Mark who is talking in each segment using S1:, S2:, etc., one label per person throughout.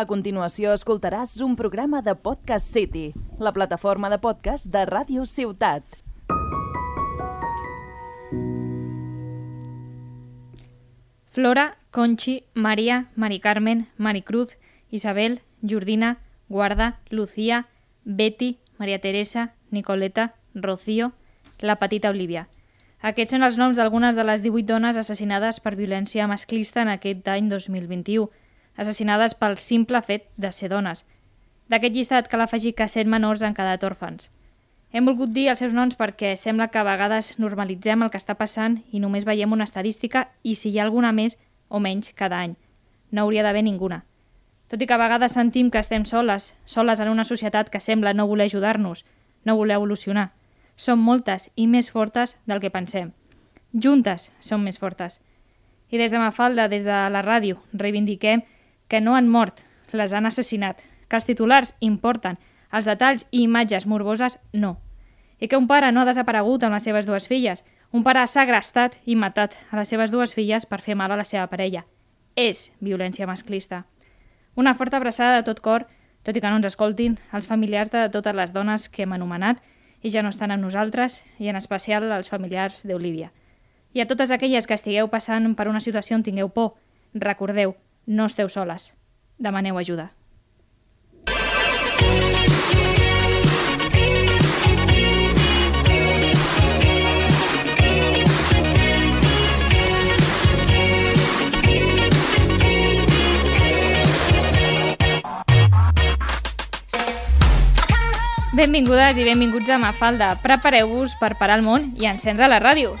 S1: A continuació escoltaràs un programa de Podcast City, la plataforma de podcast de Ràdio Ciutat.
S2: Flora, Conchi, María, Mari Carmen, Maricruz, Isabel, Jordina, Guarda, Lucía, Betty, Maria Teresa, Nicoleta, Rocío, la petita Olivia. Aquests són els noms d'algunes de les 18 dones assassinades per violència masclista en aquest any 2021, assassinades pel simple fet de ser dones. D'aquest llistat cal afegir que 7 menors han quedat òrfans. Hem volgut dir els seus noms perquè sembla que a vegades normalitzem el que està passant i només veiem una estadística i si hi ha alguna més o menys cada any. No hauria d'haver ninguna. Tot i que a vegades sentim que estem soles, soles en una societat que sembla no voler ajudar-nos, no voler evolucionar. Som moltes i més fortes del que pensem. Juntes som més fortes. I des de Mafalda, des de la ràdio, reivindiquem que no han mort, les han assassinat, que els titulars importen, els detalls i imatges morboses no. I que un pare no ha desaparegut amb les seves dues filles, un pare s'ha agrestat i matat a les seves dues filles per fer mal a la seva parella. És violència masclista. Una forta abraçada de tot cor, tot i que no ens escoltin, els familiars de totes les dones que hem anomenat i ja no estan amb nosaltres, i en especial als familiars d'Olivia. I a totes aquelles que estigueu passant per una situació on tingueu por, recordeu, no esteu soles. Demaneu ajuda. Benvingudes i benvinguts a Mafalda. Prepareu-vos per parar el món i encendre la ràdio.
S3: Oh,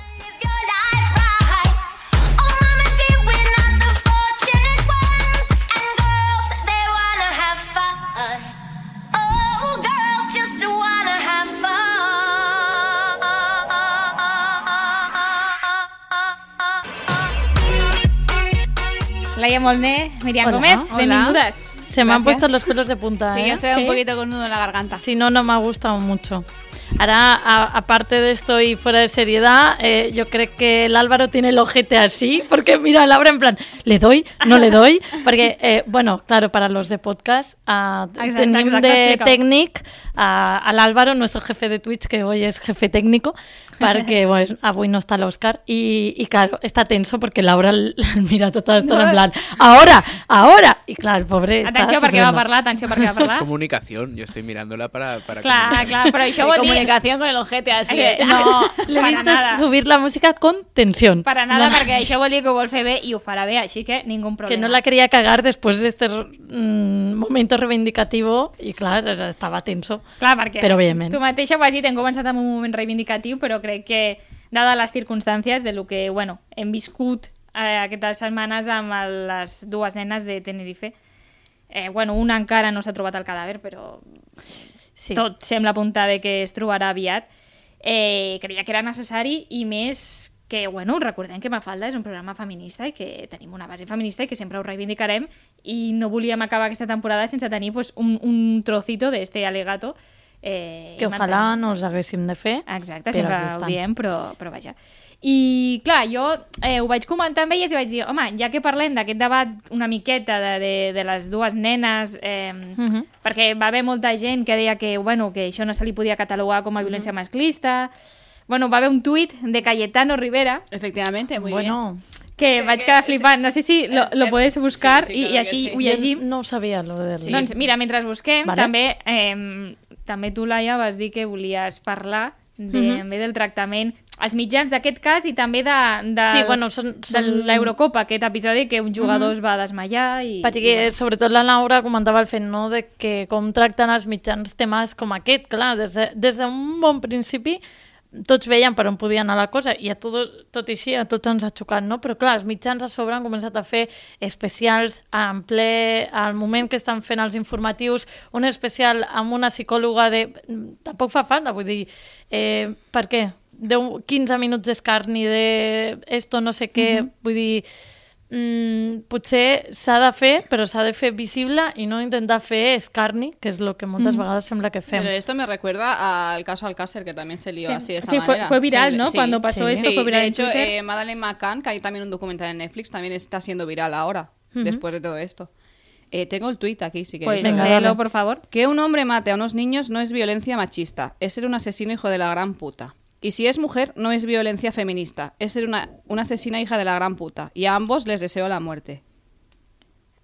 S2: Laia Molné, Miriam
S4: Hola.
S2: Gómez,
S4: Hola.
S2: benvingudes.
S4: Se me han
S2: Gracias.
S4: puesto los pelos de punta.
S5: Sí,
S4: ¿eh?
S5: yo estoy
S2: Sí.
S5: un poquito con nudo en la garganta.
S4: Si no, no me ha gustado mucho. Ahora, a- aparte de esto y fuera de seriedad, eh, yo creo que el Álvaro tiene el ojete así, porque mira, Laura en plan, ¿le doy? ¿No le doy? Porque, eh, bueno, claro, para los de podcast, a
S2: Exacto,
S4: tenim
S2: exacto,
S4: de
S2: explica.
S4: Technic, a- al Álvaro, nuestro jefe de Twitch, que hoy es jefe técnico, porque, bueno, avui no está el Oscar, y, y claro, está tenso porque Laura l- mira todo esto
S2: No.
S4: en plan, ahora, ahora, y claro, pobre, está
S2: Atenció perquè va
S4: sufriendo.
S2: parlar, atenció perquè va
S6: Es
S2: parlar.
S6: comunicación, yo estoy mirándola para... para
S2: Clar,
S6: comunicar.
S2: clar, però això
S5: Sí,
S2: vol dir...
S5: comunicación con el ojete así.
S2: Eh,
S5: ¿eh?
S2: No,
S4: Le he
S2: para
S4: visto
S2: nada.
S4: subir la música con tensión.
S2: Per a nada,
S4: No,
S2: perquè això vol dir que ho vol fer bé i ho farà bé, així que ningú problema.
S4: Que no la quería cagar después de este mm, momento reivindicativo y claro, o sea, estaba tenso.
S2: Clar, perquè
S4: Però òbviament.
S2: tu mateixa ho has dit, hem començat amb un moment reivindicatiu, però crec que, dada les circumstàncies de lo que, bueno, hem viscut eh, aquestes setmanes amb el, les dues nenes de Tenerife, eh, bueno, una encara no s'ha trobat el cadàver, però
S4: Sí.
S2: tot sembla apuntar de que es trobarà aviat, eh, creia que era necessari i més que, bueno, recordem que Mafalda és un programa feminista i que tenim una base feminista i que sempre ho reivindicarem i no volíem acabar aquesta temporada sense tenir pues, un, un trocito d'este alegato eh,
S4: Que
S2: i
S4: ojalá
S2: mantenir-
S4: no us haguéssim de fer.
S2: Exacte,
S4: però
S2: sempre
S4: aquí
S2: ho
S4: estan.
S2: diem, però, però vaja. I, clar, jo eh, ho vaig comentar amb elles i vaig dir, home, ja que parlem d'aquest debat una miqueta de, de, de les dues nenes, eh,
S4: Mhm.
S2: perquè va haver molta gent que deia que, bueno, que això no se li podia catalogar
S4: Mhm.
S2: com a violència masclista... Bueno, va haver un tuit de Cayetano Rivera
S5: Efectivamente, muy bien.
S4: Bueno,
S2: que
S5: Eh,
S2: vaig quedar flipant. No sé si lo, lo podeu buscar
S5: sí,
S2: i, i
S5: claro que
S2: així
S5: sí.
S2: ho
S4: jo
S2: llegim.
S4: no ho sabia, lo de...
S2: Sí. Doncs mira, mentre busquem,
S4: Vale.
S2: vale. també, eh, també tu, Laia, vas dir que volies parlar de, mm
S4: Mhm.
S2: -hmm. del tractament als mitjans d'aquest cas i també de, de,
S4: Sí, bueno, són-
S2: de
S4: són-
S2: l'Eurocopa, aquest episodi que un jugador mm -hmm. es va desmaiar i...
S4: Perquè,
S2: i
S4: sobretot, la Laura comentava el fet no, de que com tracten els mitjans temes com aquest. Clar, des de, des d'un bon principi tots veien per on podia anar la cosa i a tot, tot i així a tots ens ha xocat, no? Però clar, els mitjans a sobre han començat a fer especials en ple, al moment que estan fent els informatius, un especial amb una psicòloga de... Tampoc fa falta, vull dir, eh, per què? 10, 15 minuts d'escarni de esto, no sé què, vull dir mm, potser s'ha de fer, però s'ha de fer visible i no intentar fer escarni, que és el que moltes vegades sembla que fem.
S5: Pero esto me recuerda al caso Alcácer, que también se lió
S2: Sí.
S5: así de esta
S2: Sí, fue-
S5: manera.
S2: fue viral, ¿no? Cuando pasó
S5: eso
S2: esto, fue viral
S5: De
S2: en
S5: hecho,
S2: Twitter.
S5: eh, Madeleine McCann, que hay también un documental en Netflix, también está siendo viral ahora, después de todo esto. Eh, tengo el tuit aquí, si queréis.
S2: Pues
S4: Venga,
S2: léelo,
S4: dale.
S2: por favor.
S5: Que un hombre mate a unos niños no es violencia machista, es ser un asesino hijo de la gran puta. Y si es mujer, no es violencia feminista, es ser una, una asesina hija de la gran puta. Y a ambos les deseo la muerte.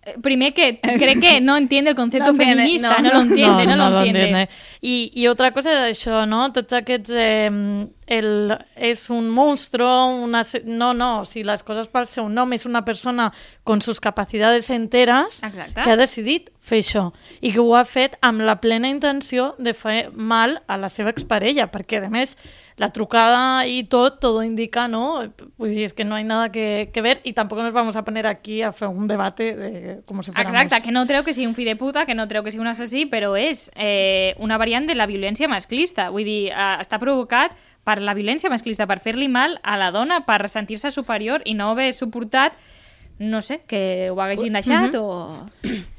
S2: Eh, Primer que cree que no entiende el concepto
S5: No entiende,
S2: feminista, no,
S5: no.
S2: lo entiende, no, lo entiende.
S4: I, I otra cosa és això, no? Tots aquests... Eh, el, és un monstro, una... se- No, no, si les coses pel seu nom és una persona con sus capacidades enteres
S2: Exacte.
S4: que ha decidit fer això i que ho ha fet amb la plena intenció de fer mal a la seva exparella, perquè, a més, la trucada i tot, todo indica, ¿no? Vull dir, és que no hay nada que, que ver y tampoco nos vamos a poner aquí a fer un debate de, como si fuéramos...
S2: Exacte, que no creo que sigui un fill de puta, que no creo que sigui un assassí, però és eh, una variant de la violència masclista. Vull dir, eh, està provocat per la violència masclista, per fer-li mal a la dona, per sentir-se superior i no haver suportat, no sé, que ho haguessin deixat o...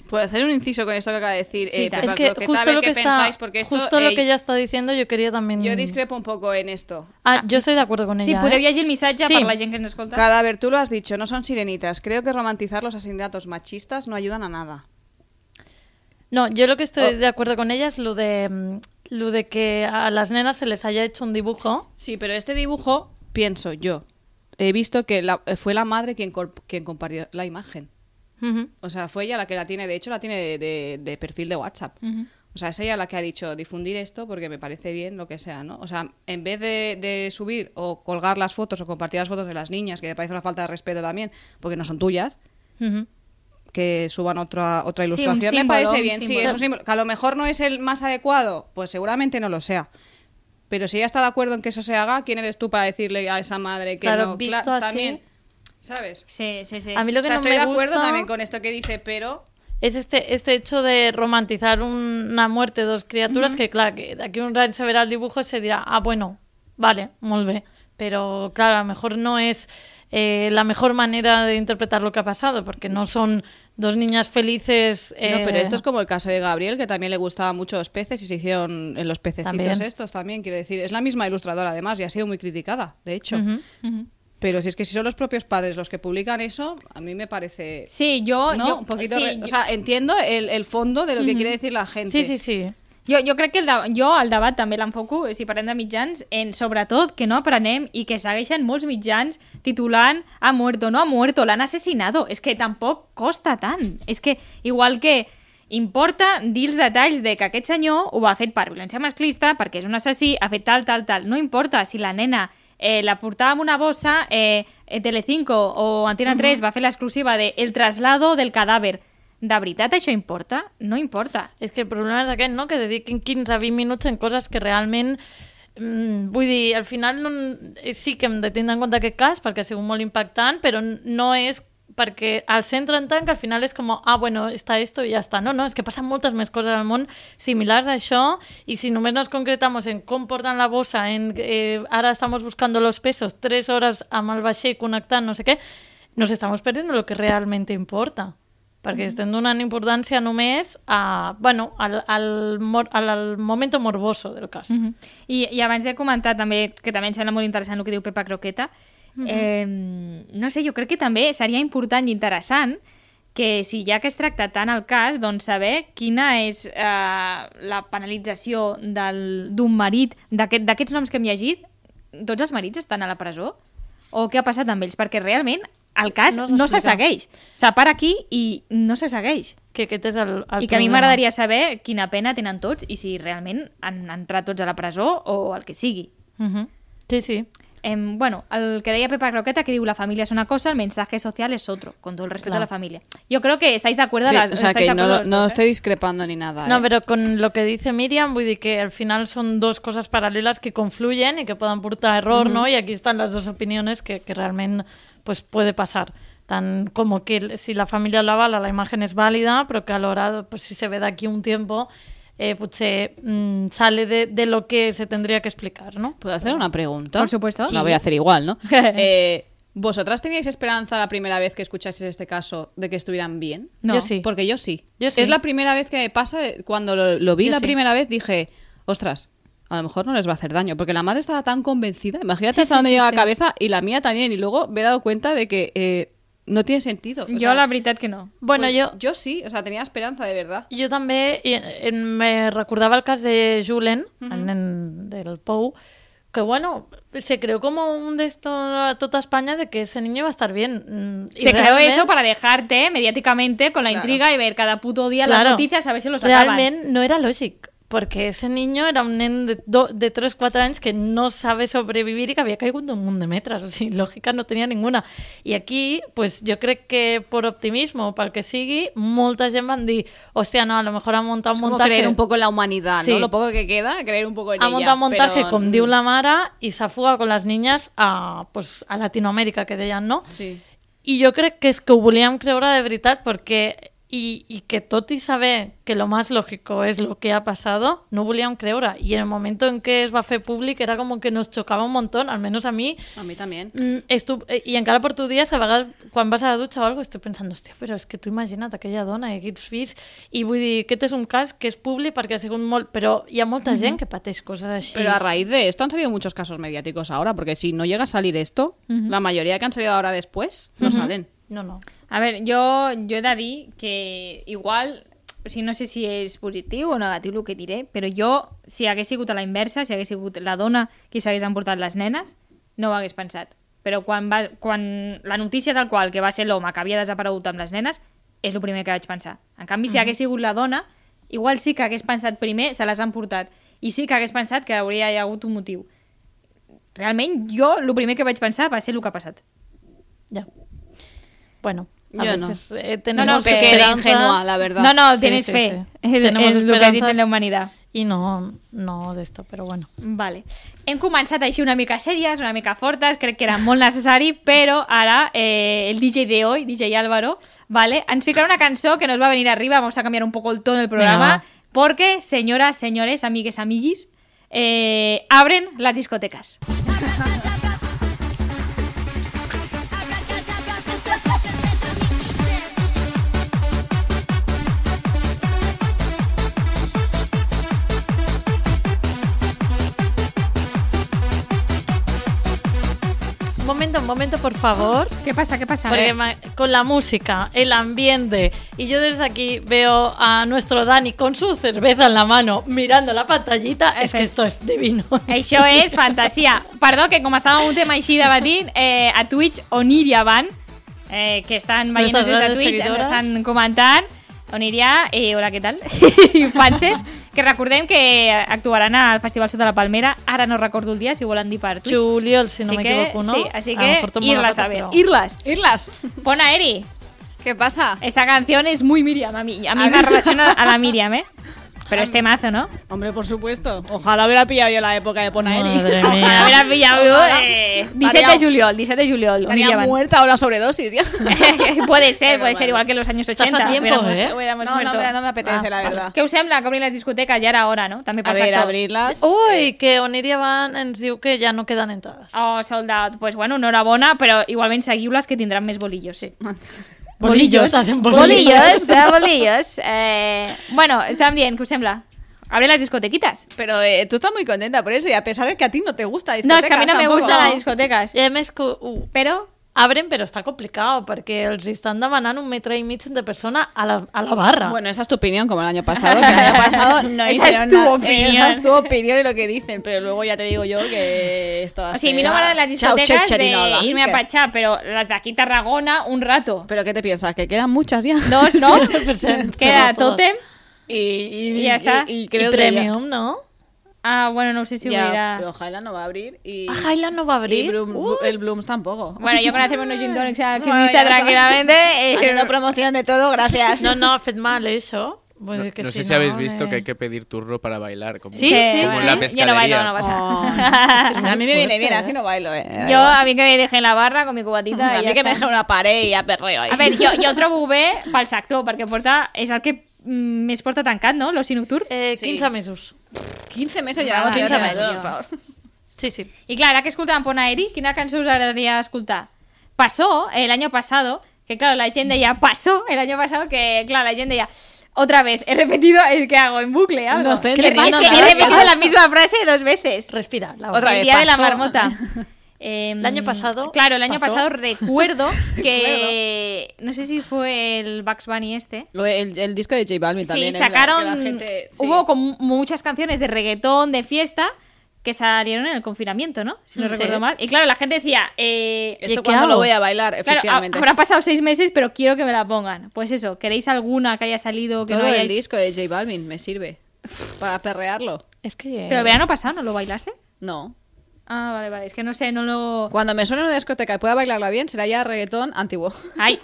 S5: Puedo hacer un inciso con esto que acaba de decir.
S2: Sí,
S5: eh,
S2: tal.
S5: Pepa
S4: Es que
S5: Croqueta, a
S4: justo
S5: ver
S4: lo
S5: qué
S4: que está,
S5: pensáis, porque esto,
S4: justo lo
S5: eh,
S4: que ella está diciendo, yo quería también.
S5: Mm.
S7: Yo discrepo un poco en esto.
S4: Ah, yo estoy de acuerdo con
S2: Sí,
S4: ella.
S2: podeu
S4: ¿eh?
S2: llegir el missatge
S4: Sí.
S2: per la gent que ens escolta.
S7: Cadáver, tú lo has dicho, no son sirenitas. Creo que romantizar los asesinatos machistas no ayudan a nada.
S4: No, yo lo que
S5: Oh.
S4: estoy de acuerdo con ella es lo de mm, lo de que a las nenas se les haya hecho un dibujo.
S5: Sí, pero este dibujo, pienso yo, he visto que la- eh, fue la madre quien, corp- quien compartió la imagen. O sea, fue ella la que la tiene, de hecho la tiene de, de- de perfil de WhatsApp. O sea, es ella la que ha dicho difundir esto porque me parece bien lo que sea, ¿no? O sea, en vez de, de subir o colgar las fotos o compartir las fotos de las niñas, que me parece una falta de respeto también, porque no son tuyas,
S4: Ujú.
S5: que suban otra, otra
S2: un
S5: ilustración, me
S2: símbolo,
S5: parece
S2: un
S5: bien, sí,
S2: símbolo.
S5: es un símbolo. Que a lo mejor no es el más adecuado, pues seguramente no lo sea. Pero si ella está de acuerdo en que eso se haga, ¿quién eres tú para decirle a esa madre que
S4: Claro,
S5: no?
S4: visto
S5: Cla-
S4: así-
S5: también, ¿sabes?
S2: Sí, sí, sí.
S4: A mí
S5: O
S4: lo que
S5: sea,
S4: no
S5: estoy
S4: me
S5: de acuerdo
S4: gusta
S5: también con esto que dice, pero
S4: es este este hecho de romantizar un- una muerte de dos criaturas que claro, que de aquí a un rato se verá el dibujo y se dirá, "Ah, bueno, vale, molt bé", pero claro, a lo mejor no es eh, la mejor manera de interpretar lo que ha pasado, porque no son dos niñas felices.
S5: No, pero
S4: eh,
S5: esto es como el caso de Gabriel, que también le gustaban mucho los peces y se hicieron en los pececitos
S4: También.
S5: estos también, quiero decir. Es la misma ilustradora, además, y ha sido muy criticada, de hecho. Pero si es que si son los propios padres los que publican eso, a mí me parece...
S2: Sí, jo...
S5: ¿no?
S2: jo,
S5: un poquito
S2: sí,
S5: re-
S2: jo-
S5: O sea, entiendo el, el fondo de lo que quiere decir la gente.
S4: Sí, sí, sí.
S2: Jo, jo crec que el de, jo el debat també l'enfoco, eh, si parlem de mitjans, en sobretot que no aprenem i que segueixen molts mitjans titulant ha muerto, no ha muerto, l'han assassinado. És que tampoc costa tant. És que igual que importa dir els detalls de que aquest senyor ho ha fet per violència masclista, perquè és un assassí, ha fet tal, tal, tal. No importa si la nena eh, la portava amb una bossa, eh, eh, Telecinco o Antena 3 va fer l'exclusiva de el traslado del cadàver. De veritat això importa? No importa.
S4: És que el problema és aquest, no? Que dediquin 15 a 20 minuts en coses que realment... Mm, vull dir, al final no, eh, sí que hem de tindre en compte aquest cas perquè ha sigut molt impactant, però n- no és perquè al centre en tant que al final és com, ah, bueno, està esto i ja està. No, no, és que passen moltes més coses al món similars a això i si només nos concretamos en com porten la bossa, en eh, ara estamos buscando los pesos, tres hores amb el vaixell connectant, no sé què, nos estamos perdiendo lo que realmente importa. Perquè estem donant importància només a, bueno, al, al, mor, al, al momento morboso del cas. Mm -hmm.
S2: I, I abans de comentar també, que també em sembla molt interessant el que diu Pepa Croqueta, eh, no sé, jo crec que també seria important i interessant que si ja que es tracta tant el cas, doncs saber quina és eh, la penalització del- d'un marit, d'aquest- d'aquests noms que hem llegit, tots els marits estan a la presó? O què ha passat amb ells? Perquè realment el cas
S4: No
S2: no,
S4: s'ha
S2: no se
S4: explicat.
S2: segueix. S'apara aquí i no se segueix.
S4: Que aquest és el, el
S2: I que a mi
S4: problema.
S2: m'agradaria saber quina pena tenen tots i si realment han entrat tots a la presó o el que sigui.
S4: Mhm. Sí, sí.
S2: Em, bueno, el que deia Pepa Croqueta, que diu la familia es una cosa, el mensaje social es otro, con todo el respeto a la familia. Yo creo que estáis de acuerdo.
S7: Sí,
S2: las,
S7: o sea,
S2: estáis
S7: que
S2: de
S7: no,
S2: acuerdo
S7: lo-
S2: los
S7: no
S2: dos,
S7: estoy
S2: eh?
S7: discrepando ni nada.
S4: No,
S7: ¿eh?
S4: pero con lo que dice Miriam, vull dir que al final son dos cosas paralelas que confluyen y que puedan portar a error, ¿no? Y aquí están las dos opiniones que, que realmente pues, puede pasar. Tan como que si la familia lo avala, la imagen es válida, pero que a la hora, pues si se ve de aquí un tiempo, eh, potser, mm, sale de, de lo que se tendría que explicar, ¿no?
S5: ¿Puedo hacer una pregunta?
S2: Por supuesto.
S5: La voy a hacer igual, ¿no? Eh, ¿Vosotras teníais esperanza la primera vez que escuchasteis este caso de que estuvieran bien?
S2: No.
S4: Yo sí.
S5: Porque yo sí.
S4: Yo sí.
S5: Es la primera vez que me pasa, de- cuando lo, lo vi
S4: Yo
S5: la
S4: sí.
S5: primera vez dije, ostras, a lo mejor no les va a hacer daño, porque la madre estaba tan convencida, imagínate
S4: sí,
S5: hasta dónde
S4: sí,
S5: llega
S4: sí.
S5: la cabeza y la mía también, y luego me he dado cuenta de que eh, no tiene sentido. O
S2: Jo,
S5: sea,
S2: la veritat que no.
S4: Bueno,
S5: pues
S4: jo,
S5: Yo sí, o sea, tenía esperanza de verdad.
S4: Jo també i, em- me recordava el cas de Julen, el nen del Pou, que bueno, se creó como un de esto a toda España de que ese niño iba a estar bien. Mm, y
S2: Se creó
S4: realment-
S2: eso para dejarte mediáticamente con la
S7: Claro.
S2: intriga y ver cada puto día
S4: Claro.
S2: las noticias a ver si lo sacaban.
S4: Realment no era lògic, perquè ese niño era un nen de, do, de 3-4 anys que no sabe sobrevivir i que havia caigut d'un munt de metres, o sigui, lògica no tenia ninguna. I aquí, pues, jo crec que per optimisme o pel que sigui, molta gent van dir, hòstia, no, a lo mejor ha muntat
S7: Es
S4: un
S7: como
S4: muntatge...
S7: creer un poco en la humanidad,
S4: Sí.
S7: ¿no? Lo poco que queda, creer un poco en
S4: ha
S7: ella.
S4: muntat muntatge,
S7: pero- mm.
S4: com diu la mare, i s'ha fugat con les niñes a, pues, a Latinoamèrica, que deien, no?
S7: Sí.
S4: I jo crec que és que ho volíem creure de veritat perquè i, i que tot i saber que lo más lógico es lo que ha pasado, no ho volíem creure. I en el moment en què es va fer públic era com que nos xocava un montón, almenys a mi.
S7: A mí también.
S4: Mm, estu- eh, I encara porto dies que a vegades quan vas a la dutxa o alguna estic pensant, hòstia, però és que tu imagina't aquella dona i aquests fills, i vull dir, aquest és un cas que és públic perquè ha sigut molt... Però hi ha molta
S7: Mhm.
S4: gent que pateix coses així.
S5: Pero a raíz de esto han salido muchos casos mediáticos ahora, porque si no llega a salir esto, la mayoría que han salido ahora después no salen.
S4: No, no.
S2: A ver, jo, jo he de dir que igual, o sigui, no sé si és positiu o negatiu el que diré, però jo, si hagués sigut a la inversa, si hagués sigut la dona qui s'hagués emportat les nenes, no ho hagués pensat. Però quan, va, quan la notícia del qual que va ser l'home que havia desaparegut amb les nenes, és el primer que vaig pensar. En canvi, si hagués sigut la dona, igual sí que hagués pensat primer, se les han portat, i sí que hagués pensat que hauria hi hagut un motiu. Realment, jo, el primer que vaig pensar va ser el que ha passat.
S4: Ya. Bueno, a
S7: Yo no.
S4: veces eh,
S2: No,
S4: tenemos
S2: no, que-
S4: esperanzas
S7: ingenua, la verdad.
S2: No, no,
S4: Sí,
S2: tienes
S4: sí,
S2: fe
S4: sí.
S2: en-
S4: Tenemos
S2: en lo que dice
S4: esperanzas.
S2: la humanidad.
S4: y no, no de esto, pero bueno.
S2: Vale. Hem començat així una mica sèries, una mica fortes, crec que era molt necessari, però ara eh, el DJ de hoy, DJ Álvaro, vale, ens ficarà una cançó que nos va a venir arriba, vamos a cambiar un poco el tono del programa,
S4: Venga, va.
S2: porque, señoras, señores, amigues, amiguis, eh, abren las discotecas.
S4: Un momento, un momento, por favor.
S2: ¿Qué pasa? ¿Qué pasa?
S4: Porque ma- con la música, el ambiente. Y yo desde aquí veo a nuestro Dani con su cerveza en la mano, mirando la pantallita. Es que esto es divino.
S2: Això és fantasia. Perdó, que com estàvem un tema així debatint, eh, a Twitch, Oniria van, eh, que estan veient des
S4: Nostres
S2: de
S4: grandes
S2: Twitch, ens
S4: seguidores.
S2: estan comentant. Oniria, eh, hola, què tal? Panses, que recordem que actuaran al Festival Sota la Palmera, ara no recordo el dia, si volen dir per Twitch.
S4: Julio, si no
S2: Així
S4: me
S2: que,
S4: equivoco, ¿no?
S2: Sí, así
S4: lo
S2: que
S4: mejor tomo la
S2: irlas
S4: pata,
S2: a ver,
S4: pero-
S2: irlas.
S7: Irlas,
S2: Pon a Eri.
S7: ¿qué pasa?
S2: Esta canción es muy Miriam a mí. A mí
S7: A
S2: me
S7: mí-
S2: relaciona a la Miriam, ¿eh? Pero este mazo, ¿no?
S7: Hombre, por supuesto. Ojalá hubiera pillado yo la época de Ponaeri.
S4: Madre
S2: A
S4: mía.
S2: veure, pillado
S7: Ojalá.
S2: eh, 17 de juliol, 17 de juliol. on
S7: Estaría
S2: llaman.
S7: muerta ahora sobredosis ya.
S2: puede ser,
S7: Pero
S2: puede ser
S7: bueno.
S2: igual que en los años 80.
S4: Estás a tiempo,
S2: hubiéramos,
S4: ¿eh?
S2: hubiéramos
S7: No, no,
S2: muerto.
S7: hombre, no me apetece,
S4: Ah,
S7: la verdad.
S2: ¿Qué os sembla que abrir las discotecas ya era hora, no? También
S7: A
S2: pasa
S7: ver,
S2: que-
S7: abrirlas.
S4: Uy, que Oniria van en que ya no quedan entradas.
S2: Oh, sold out. Pues bueno, enhorabuena, pero igualmente seguiulas que tendrán más bolillos, sí.
S4: Bolillos, hacen bolillos.
S2: Bolillos, eh, bolillos. Eh, bueno, están bien, ¿qué os sembla? Abre las discotequitas.
S7: Pero eh, tú estás muy contenta por eso, y a pesar de que a ti no te gusta
S2: No, es que a mí no me
S7: tampoco.
S2: gustan las discotecas.
S4: I a més que ho
S7: uh.
S2: Pero
S4: abren, però està complicat, perquè els estan demanant un metre i mig de persona a la, a la barra.
S5: Bueno,
S7: Esa es tu opinión, como el año pasado, que el año pasado no
S2: Esa
S7: hicieron
S2: es tu
S7: nada.
S2: opinión.
S7: Esa es tu opinión y lo que dicen, pero luego ya te digo yo que esto va a
S2: O sigui, a mi no
S7: ser-
S2: m'agraden les
S7: Chao,
S2: discoteques
S7: Checheninola.
S2: de irme a
S7: ¿Qué?
S2: Pachá, pero las de aquí Tarragona, un rato.
S7: ¿Pero qué te piensas? ¿Que quedan muchas ya?
S2: Dos, ¿no?
S7: Pues,
S4: Perfecto.
S2: Queda
S4: Todas.
S2: Totem.
S7: Y, y-
S2: Y ya está.
S7: Y,
S4: I
S7: creo que
S4: Premium, no?
S2: Ah, bueno, no sé si
S7: Ya, ya,
S2: hubiera...
S7: pero Highland no va a abrir y,
S4: Ah, Highland no va a abrir. Uh.
S7: y Bloom-
S4: Uy.
S7: el Blooms tampoco.
S2: Uh. Bueno, yo con hacerme unos gin tonics al
S7: Bueno,
S2: alquimista
S7: ya está.
S2: tranquilamente... eh,
S7: Haciendo promoción de todo, gracias.
S4: No, no, ha fet mal, això. Vull
S6: No,
S4: dir pues que
S6: no sé
S4: si
S6: si habéis
S4: no,
S6: visto
S4: eh.
S6: que hay que pedir turno para bailar. Como,
S4: Sí, sí,
S6: como
S4: sí.
S6: en la
S2: Yo no bailo,
S6: pescadería.
S2: no pasa.
S4: Ah,
S7: a mí me viene bien, así no bailo, eh. Da
S2: Yo,
S7: igual.
S2: a mí que me dejé en la barra con mi cubatita
S7: a
S2: i
S7: mí
S2: ja
S7: que me
S2: està.
S7: dejen una pared y ya perreo ahí.
S2: A ver, jo, jo ho trobo bé pel sector, perquè porta, és el que mm, més porta tancat, no? L'oci nocturn.
S4: Eh,
S7: Sí.
S4: 15 mesos.
S7: 15 meses llevamos sin
S2: Vale, vale,
S7: hacer
S2: vale.
S7: nada, por favor.
S4: Sí, sí.
S2: Y claro, ahora que escuchan Ponaeri, ¿quién canción os agradaría escuchar? Pasó eh, el año pasado, que claro, la gente ya pasó el año pasado, eh, que claro, la gente ya. Otra vez, he repetido el que hago en bucle. Algo.
S7: No, estoy
S2: ¿Qué le
S7: entendiendo
S2: pasa? Es que
S7: nada.
S2: he repetido la misma frase dos veces.
S4: Respira, Laura.
S7: Otra
S2: el
S7: vez
S2: día de la
S7: pasó.
S2: marmota. Em,
S4: El año pasado
S2: Claro, el año
S4: pasó.
S2: pasado recuerdo que. no sé si fue el Bugs Bunny este.
S5: Lo- el, el disco de J Balvin también.
S2: Sí,
S5: es la- que la
S2: sacaron.
S5: gente- sí.
S2: Hubo como muchas canciones de reggaetón, de fiesta, que salieron en el confinamiento, ¿no? Si no
S4: Sí.
S2: recuerdo mal. Y claro, la gente decía. Eh,
S4: ¿y
S5: Esto
S4: qué
S5: cuando lo
S4: hago?
S5: voy a bailar,
S2: Claro, ah, ha-
S5: efectivamente.
S2: habrá pasado seis meses, pero quiero que me la pongan. Pues eso, ¿queréis alguna que haya salido? Que
S5: Todo
S2: no
S5: el
S2: hayáis-
S5: disco de J Balvin me sirve para perrearlo.
S4: Es que...
S2: Pero el verano pasado, ¿no lo bailaste?
S5: No.
S2: Ah, vale, vale. Es que no sé, no lo.
S5: Cuando me suene en una discoteca y pueda bailarla bien, será ya reggaetón antiguo.
S2: Ay,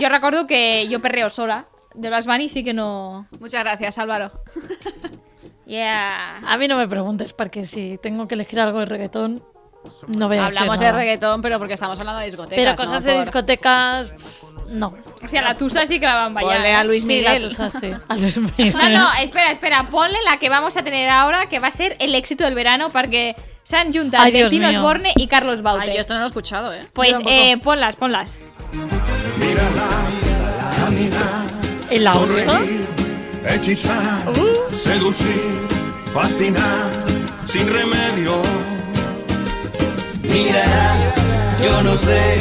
S2: yo recuerdo que yo perreo sola. Del Bugs Bunny sí que no.
S5: Muchas gracias, Álvaro.
S2: Yeah.
S4: A mí no me preguntes porque si tengo que elegir algo de reggaetón, no voy a decir
S5: Hablamos de
S4: nada.
S5: reggaetón, pero porque estamos hablando de discotecas.
S4: Pero
S5: ¿no?
S4: cosas de
S5: Por-
S4: discotecas, pff, no.
S2: O sea, la tusa sí que la van a bailar.
S7: Ponle a Luis
S4: Sí, la
S7: Miguel.
S4: tusa, sí. A Luis Miguel.
S2: No, no, espera, espera. Ponle la que vamos a tener ahora, que va a ser el éxito del verano, porque se han juntado
S4: Ay, Dios
S2: Valentino
S4: mío.
S2: Osborne y Carlos Baute.
S5: Ay, yo esto no lo he escuchado, ¿eh?
S2: Pues eh, ponlas, ponlas.
S4: El audio.
S8: Sonreír, hechizar,
S2: Uh.
S8: seducir, fascinar, sin remedio.
S9: Mira, yo no sé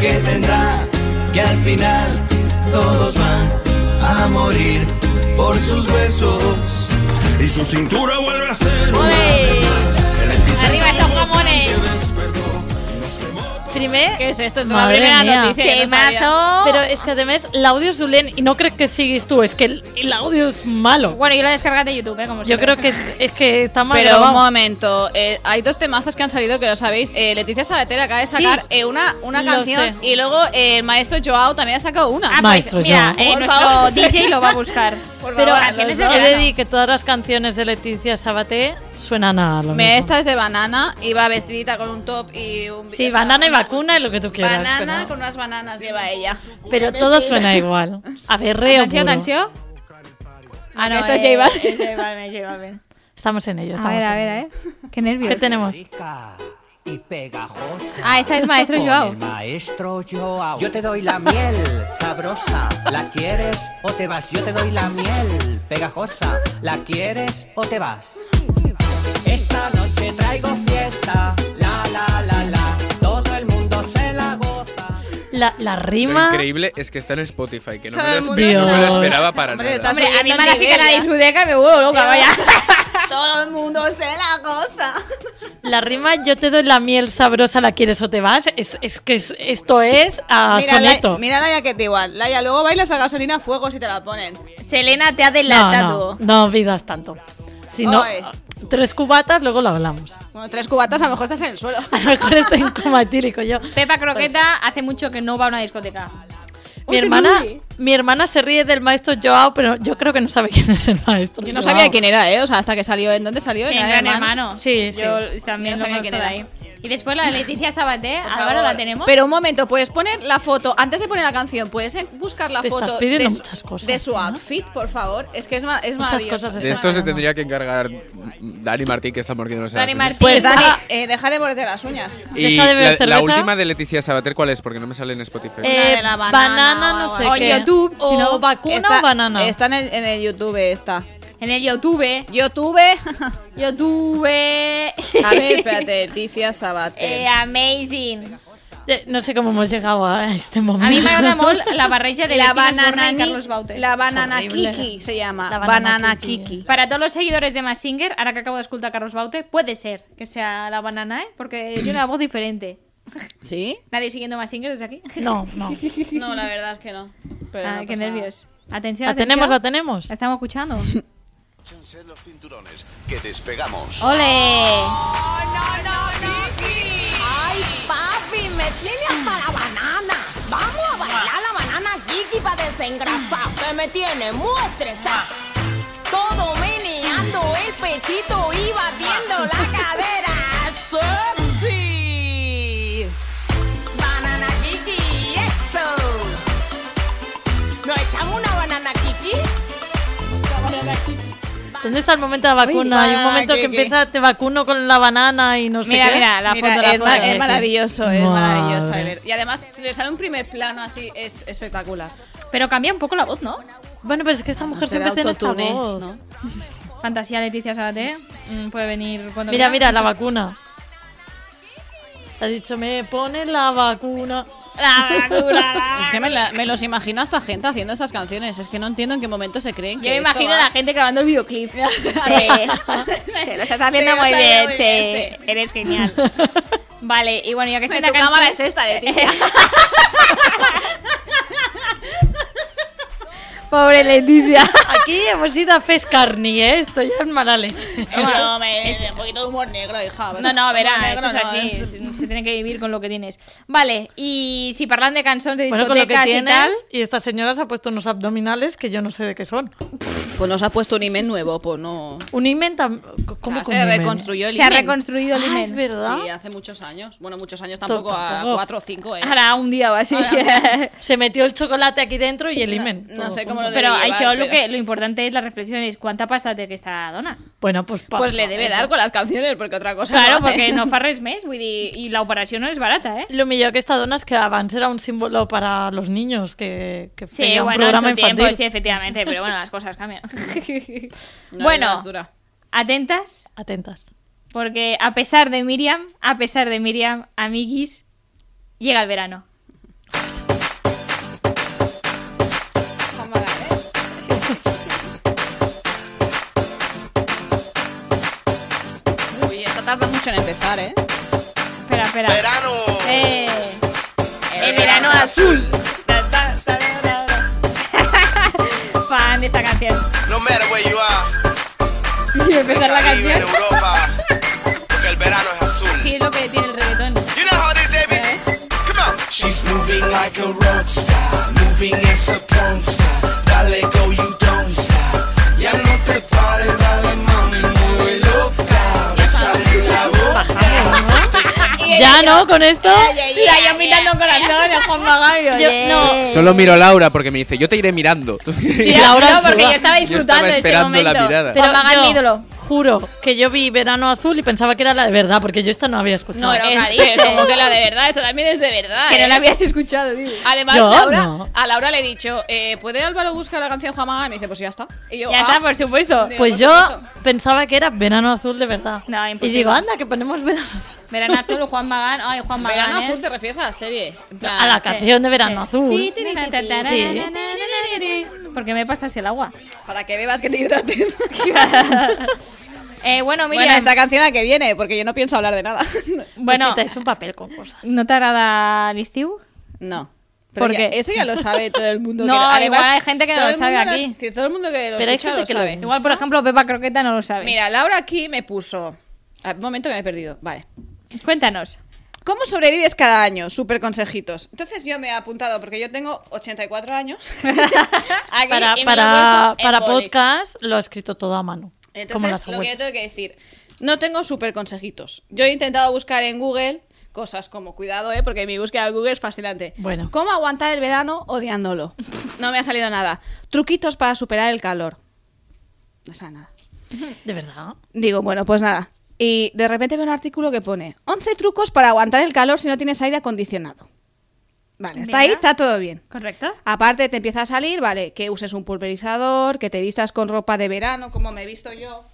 S9: qué tendrá, que al final todos van a morir por sus besos.
S8: Y su cintura vuelve a ser una
S2: ¡Ole!
S8: El hechizar
S2: ¡Arriba esos jamones!
S8: despertó y nos quemó
S4: Primer...
S5: ¿Qué es esto? Esto es
S4: Madre
S5: la primera
S4: mía.
S5: noticia. que no sabía.
S2: ¡Temazo!
S4: Pero es que además el audio es dolent y no creo que sigues tú, es que el, el audio es malo.
S2: Bueno, yo lo descargué de YouTube, ¿eh? Como
S4: Yo creo que es, es que está mal
S5: Pero un
S4: grabado.
S5: momento, eh, hay dos temazos que han salido que lo sabéis. Eh, Leticia Sabater acaba de sacar
S4: Sí.
S5: eh, una, una
S4: Lo
S5: canción
S4: sé.
S5: y luego eh, el maestro Joao también ha sacado una.
S2: Ah, pues
S4: Maestro,
S2: mira,
S4: yo.
S2: eh,
S5: Por
S2: nuestro
S5: favor.
S2: DJ lo va a buscar.
S4: Pero
S2: canciones de
S4: he de
S2: verano.
S4: decir que todas las canciones de Leticia Sabaté suenan a lo
S5: Me-
S4: mismo.
S5: Esta es de banana y va vestidita con un top y un...
S4: Sí,
S5: o sea,
S4: banana y vacuna y lo que tú quieras.
S5: Banana
S4: pero-
S5: con unas bananas lleva ella.
S4: Pero todo suena igual. A ver, reo
S2: ¿Canción,
S4: puro.
S2: canción? Ah, no,
S5: Esto es
S2: eh,
S5: J Balvin.
S2: es J Balvin, es J Balvin.
S4: Estamos en ello,
S2: A
S4: estamos
S2: ver, a
S4: en
S2: ver,
S4: ello.
S2: eh. Qué nervios.
S4: ¿Qué tenemos?
S9: Rica y pegajosa.
S2: Ah, esta es Maestro
S9: Con
S2: Joao.
S9: el maestro Joao. Yo te doy la miel, sabrosa. ¿La quieres o te vas? Yo te doy la miel, pegajosa. ¿La quieres o te vas? Esta noche traigo fiesta. La, la, la, la. Todo el mundo se la goza.
S4: La, la
S6: Lo
S4: rima.
S6: increíble es que está en Spotify, que no, me
S5: Todo
S6: lo,
S5: el mundo
S6: esper- no me lo
S4: sabe.
S6: esperaba para
S5: Hombre,
S6: nada.
S5: está
S2: Hombre, a mí
S5: subiendo
S2: me la
S5: el
S2: cita la
S5: nivel, ¿eh? ya.
S2: discoteca y me vuelvo loca, vaya.
S5: Todo el mundo se la goza.
S4: La rima, yo te doy la miel sabrosa, la quieres o te vas. Es, es que es- esto es a
S7: Mira,
S4: Ah, soneto.
S7: Laia- mira Laia que te igual. Laia, luego bailas a gasolina a fuego si te la ponen.
S2: Selena te ha
S4: no,
S2: delatado.
S4: no, no olvidas tanto. Si no,
S7: Oy.
S4: tres cubatas, luego lo hablamos.
S7: Bueno, tres cubatas a lo mejor estás en el suelo.
S4: A lo mejor estoy en coma etílico yo.
S2: Pepa Croqueta hace mucho que no va a una discoteca.
S4: Mi hermana, mi hermana se ríe del maestro Joao, pero yo creo que no sabe quién es el maestro.
S5: Yo no
S4: Joao.
S5: sabía quién era, ¿eh? O sea, hasta que salió... ¿En dónde salió?
S2: Sí,
S5: En
S2: en
S5: Iron
S2: Gran
S5: Man.
S2: hermano.
S4: Sí, sí.
S2: Yo también
S5: Yo no
S2: lo
S5: sabía
S2: conozco
S5: quién
S2: de
S5: era.
S2: ahí. Y después la de Leticia Sabaté,
S5: Por
S2: Álvaro,
S5: favor.
S2: ¿la tenemos?
S5: Pero un momento, puedes poner la foto. Antes de poner la canción, puedes eh, buscar la
S4: Te
S5: foto
S4: estás pidiendo
S5: de, su-
S4: muchas cosas,
S5: de su
S4: ¿no?
S5: outfit, por favor. Es que es, ma- es
S4: Muchas
S5: maravilloso.
S4: cosas
S6: De esto se tendría que encargar Dani Martín, que está mordiendo los
S2: Dani Martín.
S5: Pues Dani,
S4: Ah.
S7: Eh, deja de morderte las uñas.
S6: Y
S4: Deja de beber
S6: la, la
S4: cerveza.
S6: última de Leticia Sabater, ¿cuál es? Porque no me sale en Spotify.
S4: Eh,
S7: Una de la banana
S4: banana,
S7: o
S4: no
S7: algo
S4: sé
S2: así.
S4: qué.
S2: O YouTube,
S4: O
S2: si no.
S4: vacuna
S7: Está-
S4: o banana.
S7: Está en el, en el YouTube, está.
S2: En el YouTube,
S7: Yo tuve. A
S2: YouTube.
S7: ver,
S5: eh,
S7: espérate, Leticia Sabater.
S2: Eh, amazing.
S4: Eh, No sé cómo hemos llegado a este momento.
S2: A mí me agrada molt la barreja de
S7: la
S2: Leticia Osborne
S7: banana,
S2: y
S7: ni-
S2: Carlos Baute.
S7: la banana
S4: horrible.
S7: Kiki se llama.
S4: La banana
S7: banana,
S4: Kiki.
S7: Kiki.
S2: Para todos los seguidores de Massinger, ahora que acabo de escuchar a Carlos Baute, puede ser que sea la banana, ¿eh? Porque tiene una voz diferente.
S7: ¿Sí?
S2: ¿Nadie siguiendo Massinger desde aquí?
S4: No, no.
S5: No, la verdad es que no. Pero
S2: ah,
S5: no
S2: qué
S5: pasa nada.
S2: nervios. Atención,
S4: La
S2: atención.
S4: Ah, tenemos, la tenemos.
S2: La estamos escuchando.
S10: Échense los cinturones, que despegamos.
S2: ¡Ole!
S3: Ay, papi, me tienes para banana. Vamos a bailar la banana Kiki para desengrasar, que me tiene muy estresada. Todo meneando el pechito y batiendo la cadera. ¡Sexy! Banana Kiki, eso. ¿Nos echamos una banana Kiki?
S4: ¿Dónde está el momento de la vacuna? Hay un
S7: banana,
S4: momento que
S7: Kiki.
S4: empieza te vacuno con la banana y no sé
S2: Mira,
S4: qué.
S2: mira, la
S7: Mira,
S2: foto, la
S7: es, ma-
S2: foto.
S7: es maravilloso, es
S4: Madre.
S7: maravilloso de ver. Y además, si le sale un primer plano así, es espectacular.
S2: Pero cambia un poco la voz, ¿no?
S4: Bueno, pero es que esta mujer
S7: Será
S4: siempre tiene esta
S7: autotune,
S4: voz.
S7: ¿no?
S2: Fantasía Leticia Sabaté. mm, Puede venir cuando
S4: Mira,
S2: quiera.
S4: mira, la vacuna. Ha dicho, me pone la vacuna.
S5: Es que me, la- me los imagino a esta gente haciendo esas canciones. Es que no entiendo en qué momento se creen que.
S2: Yo me
S5: esto
S2: imagino
S5: va.
S2: a la gente grabando el videoclip. Sí. Sí, lo estás haciendo
S7: Sí, lo
S2: muy
S7: está
S2: bien,
S7: haciendo muy
S2: sí.
S7: bien,
S2: Eres genial. Vale, y bueno, ya que está
S7: Tu
S2: la canción...
S7: cámara es esta, Leticia.
S2: Pobre Leticia.
S4: Aquí hemos ido a fez carni, ¿eh? Esto ya es mala leche.
S5: Bueno,
S7: es un poquito de humor negro, hija.
S2: No, no, verá,
S7: Humor
S2: esto
S7: negro
S2: es
S7: no,
S2: así.
S5: ¿eh?
S7: es-
S2: Se, se tiene que vivir con lo que tienes. Vale, y si parlan de canciones, de
S4: Bueno,
S2: discotecas
S4: con lo que
S2: y tal...
S4: tienes. Y esta señora se ha puesto unos abdominales que yo no sé de qué son.
S5: Pues nos ha puesto un imen nuevo, pues no.
S4: Un imen tam- ¿Cómo que
S5: O sea, se
S4: un imen?
S5: reconstruyó el
S2: Se ha
S5: himen.
S2: reconstruido el
S4: Ah, es
S2: imen.
S4: verdad.
S5: Sí, hace muchos años. Bueno, muchos años tampoco,
S4: tampoco.
S5: a cuatro o cinco, ¿eh?
S2: Hará un día o así.
S4: Se metió el chocolate aquí dentro y el imen.
S5: no
S4: todo
S5: sé
S4: junto.
S5: cómo lo
S2: Pero
S5: debe
S2: això
S5: llevar,
S2: lo,
S5: pero-
S2: que, lo importante es la reflexión, es cuánta pasta te que esta dona.
S4: Bueno, pues pa-
S5: Pues le debe dar con las canciones, porque otra cosa.
S2: Claro,
S5: no hace.
S2: porque no fa res més, vull dir, i l'operació no és barata, eh?
S4: Lo millor que esta dona es que abans era un símbolo para los niños, que, que
S2: Sí,
S4: feia un
S2: bueno, en
S4: programa
S2: su tiempo,
S4: infantil.
S2: sí, efectivamente, pero bueno, las cosas cambian.
S5: No,
S2: bueno,
S5: es dura.
S2: atentas,
S4: Atentas.
S2: porque a pesar de Miriam, a pesar de Miriam, amiguis, llega el verano.
S5: Uy, esta tarda mucho en empezar, ¿eh?
S2: Espera, espera.
S8: Verano.
S2: Eh,
S5: El verano azul.
S2: fan de esta canción.
S8: No matter where you are.
S2: Y empezar la
S8: Caribe, en
S2: canción.
S8: Europa. Porque el verano es azul.
S2: Sí, es lo que tiene el reggaetón.
S8: You know how it is, baby. Come on.
S11: She's moving like a rock star, moving as a porn star. Dale go, you don't stop. Ya no te pares, dale mami, muy loca. Bésame la boca.
S4: Ya, ¿no? Con esto...
S2: Mira, yo mirando un corazón a Juan Magavio.
S4: Yo-
S2: yeah.
S4: no.
S6: Solo miro a Laura porque me dice, yo te iré mirando.
S4: Eh, Sí, Laura
S2: no, porque
S4: suda.
S2: yo estaba disfrutando
S6: Yo estaba
S2: de este
S6: esperando
S2: momento.
S6: la mirada.
S2: Juan Magán, mi
S4: yo
S2: ídolo.
S4: Juro que yo vi Verano Azul y pensaba que era la de verdad, porque yo esta no había escuchado.
S5: No,
S2: Pero
S5: es-
S2: Caribe.
S5: pero ¿eh? como que la de verdad, esta también es de verdad.
S2: Este, Que no
S5: ¿eh?
S2: la habías escuchado, tío.
S5: Además,
S4: Yo
S5: Laura,
S4: no.
S5: a Laura le he dicho, eh, ¿puede Álvaro buscar la canción Jamaga? Y me dice, pues ya está. Y yo,
S2: Ya
S5: ah,
S2: está, por supuesto.
S4: pues yo pensaba que era Verano Azul de verdad.
S2: No,
S4: y
S2: imposible.
S4: digo, anda, que ponemos Verano Azul.
S2: Verano Azul, Juan Magán. Ay, Juan Magán.
S5: Verano
S2: ¿eh?
S5: azul te refieres a la serie. En plan,
S4: A la canción de Verano Azul.
S2: Porque me pasas el agua.
S5: Para que bebas que te hidrates.
S2: Eh, bueno,
S5: Bueno,
S2: Miriam,
S5: esta canción a que viene, porque yo no pienso hablar de nada.
S2: bueno,
S4: Necesitáis un papel con cosas.
S2: ¿no te agrada l'Estiu?
S5: No. Pero
S2: ¿Por
S5: ya-
S2: qué?
S5: Eso ya lo sabe todo el mundo.
S2: No,
S5: que-
S2: igual hay gente que no
S5: todo
S2: lo
S5: el
S2: sabe
S5: mundo
S2: aquí.
S5: lo- sí, todo el mundo que lo
S4: Pero hay
S5: escucha
S4: gente
S5: lo
S4: que lo
S5: sabe.
S2: Igual, por ejemplo, Pepa Croqueta no lo sabe.
S5: Mira, Laura aquí me puso... Ah, Un momento que me he perdido. Vale.
S2: Cuéntanos.
S5: ¿Cómo sobrevives cada año? Súper consejitos. Entonces yo me he apuntado porque yo tengo 84 años. Aquí,
S4: Para,
S5: y me lo he
S4: para,
S5: puesto en
S4: para
S5: boli.
S4: podcast lo ha escrito todo a mano. como las
S5: Entonces, lo que yo
S4: abuelas.
S5: tengo que decir, no tengo súper consejitos. Yo he intentado buscar en Google cosas como, cuidado, ¿eh? porque mi búsqueda de Google es fascinante.
S4: Bueno.
S5: ¿Cómo aguantar el verano odiándolo? No me ha salido nada. Truquitos para superar el calor. No sale nada.
S4: De verdad.
S5: Digo, bueno, pues nada. Y de repente veo un artículo que pone 11 trucos para aguantar el calor si no tienes aire acondicionado. Vale, está ahí,
S2: Venga.
S5: está todo bien.
S2: ¿Correcto?
S5: Aparte te empieza a salir, vale, que uses un pulverizador, que te vistas con ropa de verano como me he visto yo.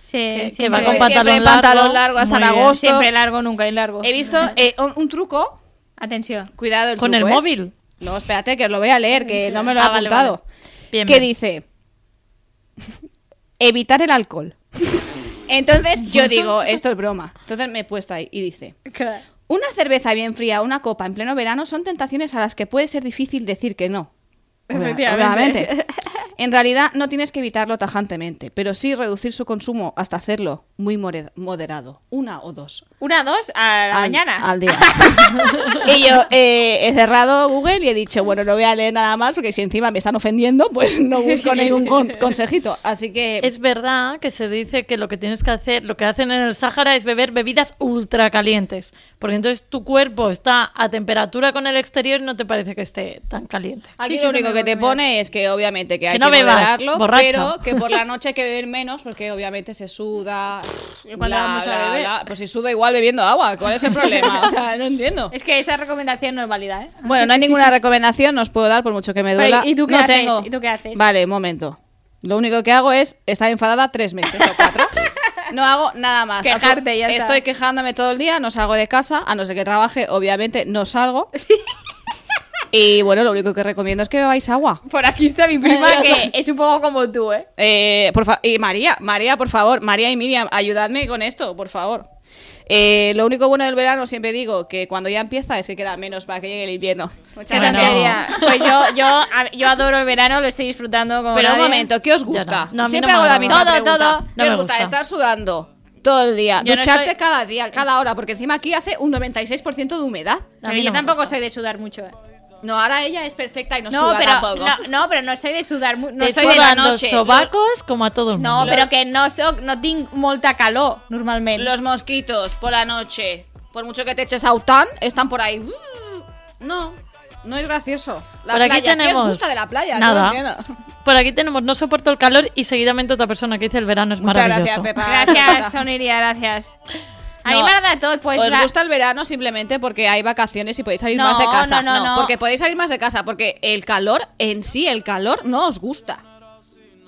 S2: Sí,
S4: que va
S2: siempre-
S4: con
S5: Siempre
S4: pantalón largo.
S5: pantalón largo hasta
S4: Muy
S5: en
S4: bien.
S5: agosto.
S2: Siempre largo, nunca hay largo.
S5: He visto eh, un, un truco.
S2: Atención.
S5: Cuidado el
S4: Con el
S5: truco, ¿eh?
S4: móvil.
S5: No, espérate, que os lo voy a leer, que no me lo he
S4: Ah, vale,
S5: apuntado.
S4: vale. Bien,
S5: que
S4: bien.
S5: dice: evitar el alcohol. Entonces yo digo, esto es broma. Entonces me he puesto ahí y dice: Una cerveza bien fría, una copa en pleno verano son tentaciones a las que puede ser difícil decir que no. Obvia-
S2: Efectivamente.
S5: obviamente. En realidad no tienes que evitarlo tajantemente, pero sí reducir su consumo hasta hacerlo muy more- moderado, una o dos
S2: Una, dos, a la
S5: al-
S2: mañana.
S5: Al día. y yo eh, he cerrado Google y he dicho, bueno, no voy a leer nada más porque si encima me están ofendiendo, pues no busco ningún con- consejito. Así que...
S4: Es verdad que se dice que lo que tienes que hacer, lo que hacen en el Sáhara es beber bebidas ultra calientes, porque entonces tu cuerpo está a temperatura con el exterior y no te parece que esté tan caliente.
S5: Aquí
S2: Sí, sí,
S5: lo
S2: no
S5: único
S2: me
S5: que
S2: voy a
S5: te
S2: olvidar.
S5: pone es que obviamente que hay que,
S4: no bebas,
S5: moderarlo,
S4: borracha.
S5: pero que por la noche hay que beber menos porque obviamente se suda.
S2: ¿Y cuándo vamos a beber?
S5: pues si suda igual bebiendo agua, ¿cuál es el problema? O sea, no entiendo.
S2: Es que esa recomendación no es válida, ¿eh?
S5: Bueno, no hay ninguna recomendación, no os puedo dar por mucho que me
S2: Pero,
S5: duela.
S2: ¿y tú qué
S5: no
S2: haces?
S5: tengo.
S2: ¿Y tú qué haces?
S5: Vale, momento. Lo único que hago es estar enfadada tres meses o cuatro. No hago nada más.
S2: Quejarte, ya está.
S5: Estoy quejándome todo el día, no salgo de casa, a no ser que trabaje, obviamente no salgo. y bueno, lo único que recomiendo es que bebáis agua.
S2: Por aquí está mi prima que es un poco como tú, ¿eh?
S5: Eh, por fa- y María, María, por favor, María y Miriam, ayudadme con esto, por favor. Eh, lo único bueno del verano, siempre digo, que cuando ya empieza es que queda menos para que llegue el invierno. Muchas
S2: Qué tontería. Pues yo, yo, a- yo adoro el verano, lo estoy disfrutando como
S5: Pero un
S2: nadie.
S5: momento, ¿qué os gusta?
S2: no. No, a mí
S5: Siempre
S2: no me
S5: hago la
S2: gusta.
S5: misma
S2: Todo,
S5: pregunta.
S2: todo.
S5: ¿Qué
S2: No me
S5: os gusta?
S2: gusta.
S5: Estar sudando todo el día,
S2: Yo no
S5: ducharte
S2: soy-
S5: cada día, cada hora, porque encima aquí hace un 96% de humedad.
S2: Pero yo tampoco soy de sudar mucho. ¿eh?
S5: No, ahora ella es perfecta y no,
S2: No,
S5: suda
S2: pero
S5: tampoco.
S2: no, no, pero no soy de sudar mucho. No
S4: Te
S2: soy de la
S4: sudan los
S2: noche.
S4: sobacos como a todo el
S2: No,
S4: mundo.
S2: però que no soc, no tinc molta calor, normalment.
S5: Los mosquitos por la noche, por mucho que te eches aután, están por ahí. No, no es gracioso. La
S4: Por aquí
S5: playa, ¿qué
S4: tenemos-
S5: os gusta de la playa? No
S4: Nada.
S5: lo entiendo.
S4: Por aquí tenemos, no soporto el calor y seguidamente otra persona que dice el verano es
S5: Muchas gracias,
S4: maravilloso.
S5: Pepa.
S2: Gràcies, Soniria, gràcies. A mi
S5: No.
S2: m'agrada tot, pues,
S5: Os
S2: la-
S5: gusta el verano simplemente porque hay vacaciones y podéis salir
S2: No,
S5: más de casa.
S2: no, no, no.
S5: Porque podéis salir más de casa, porque el calor en sí, el calor no os gusta.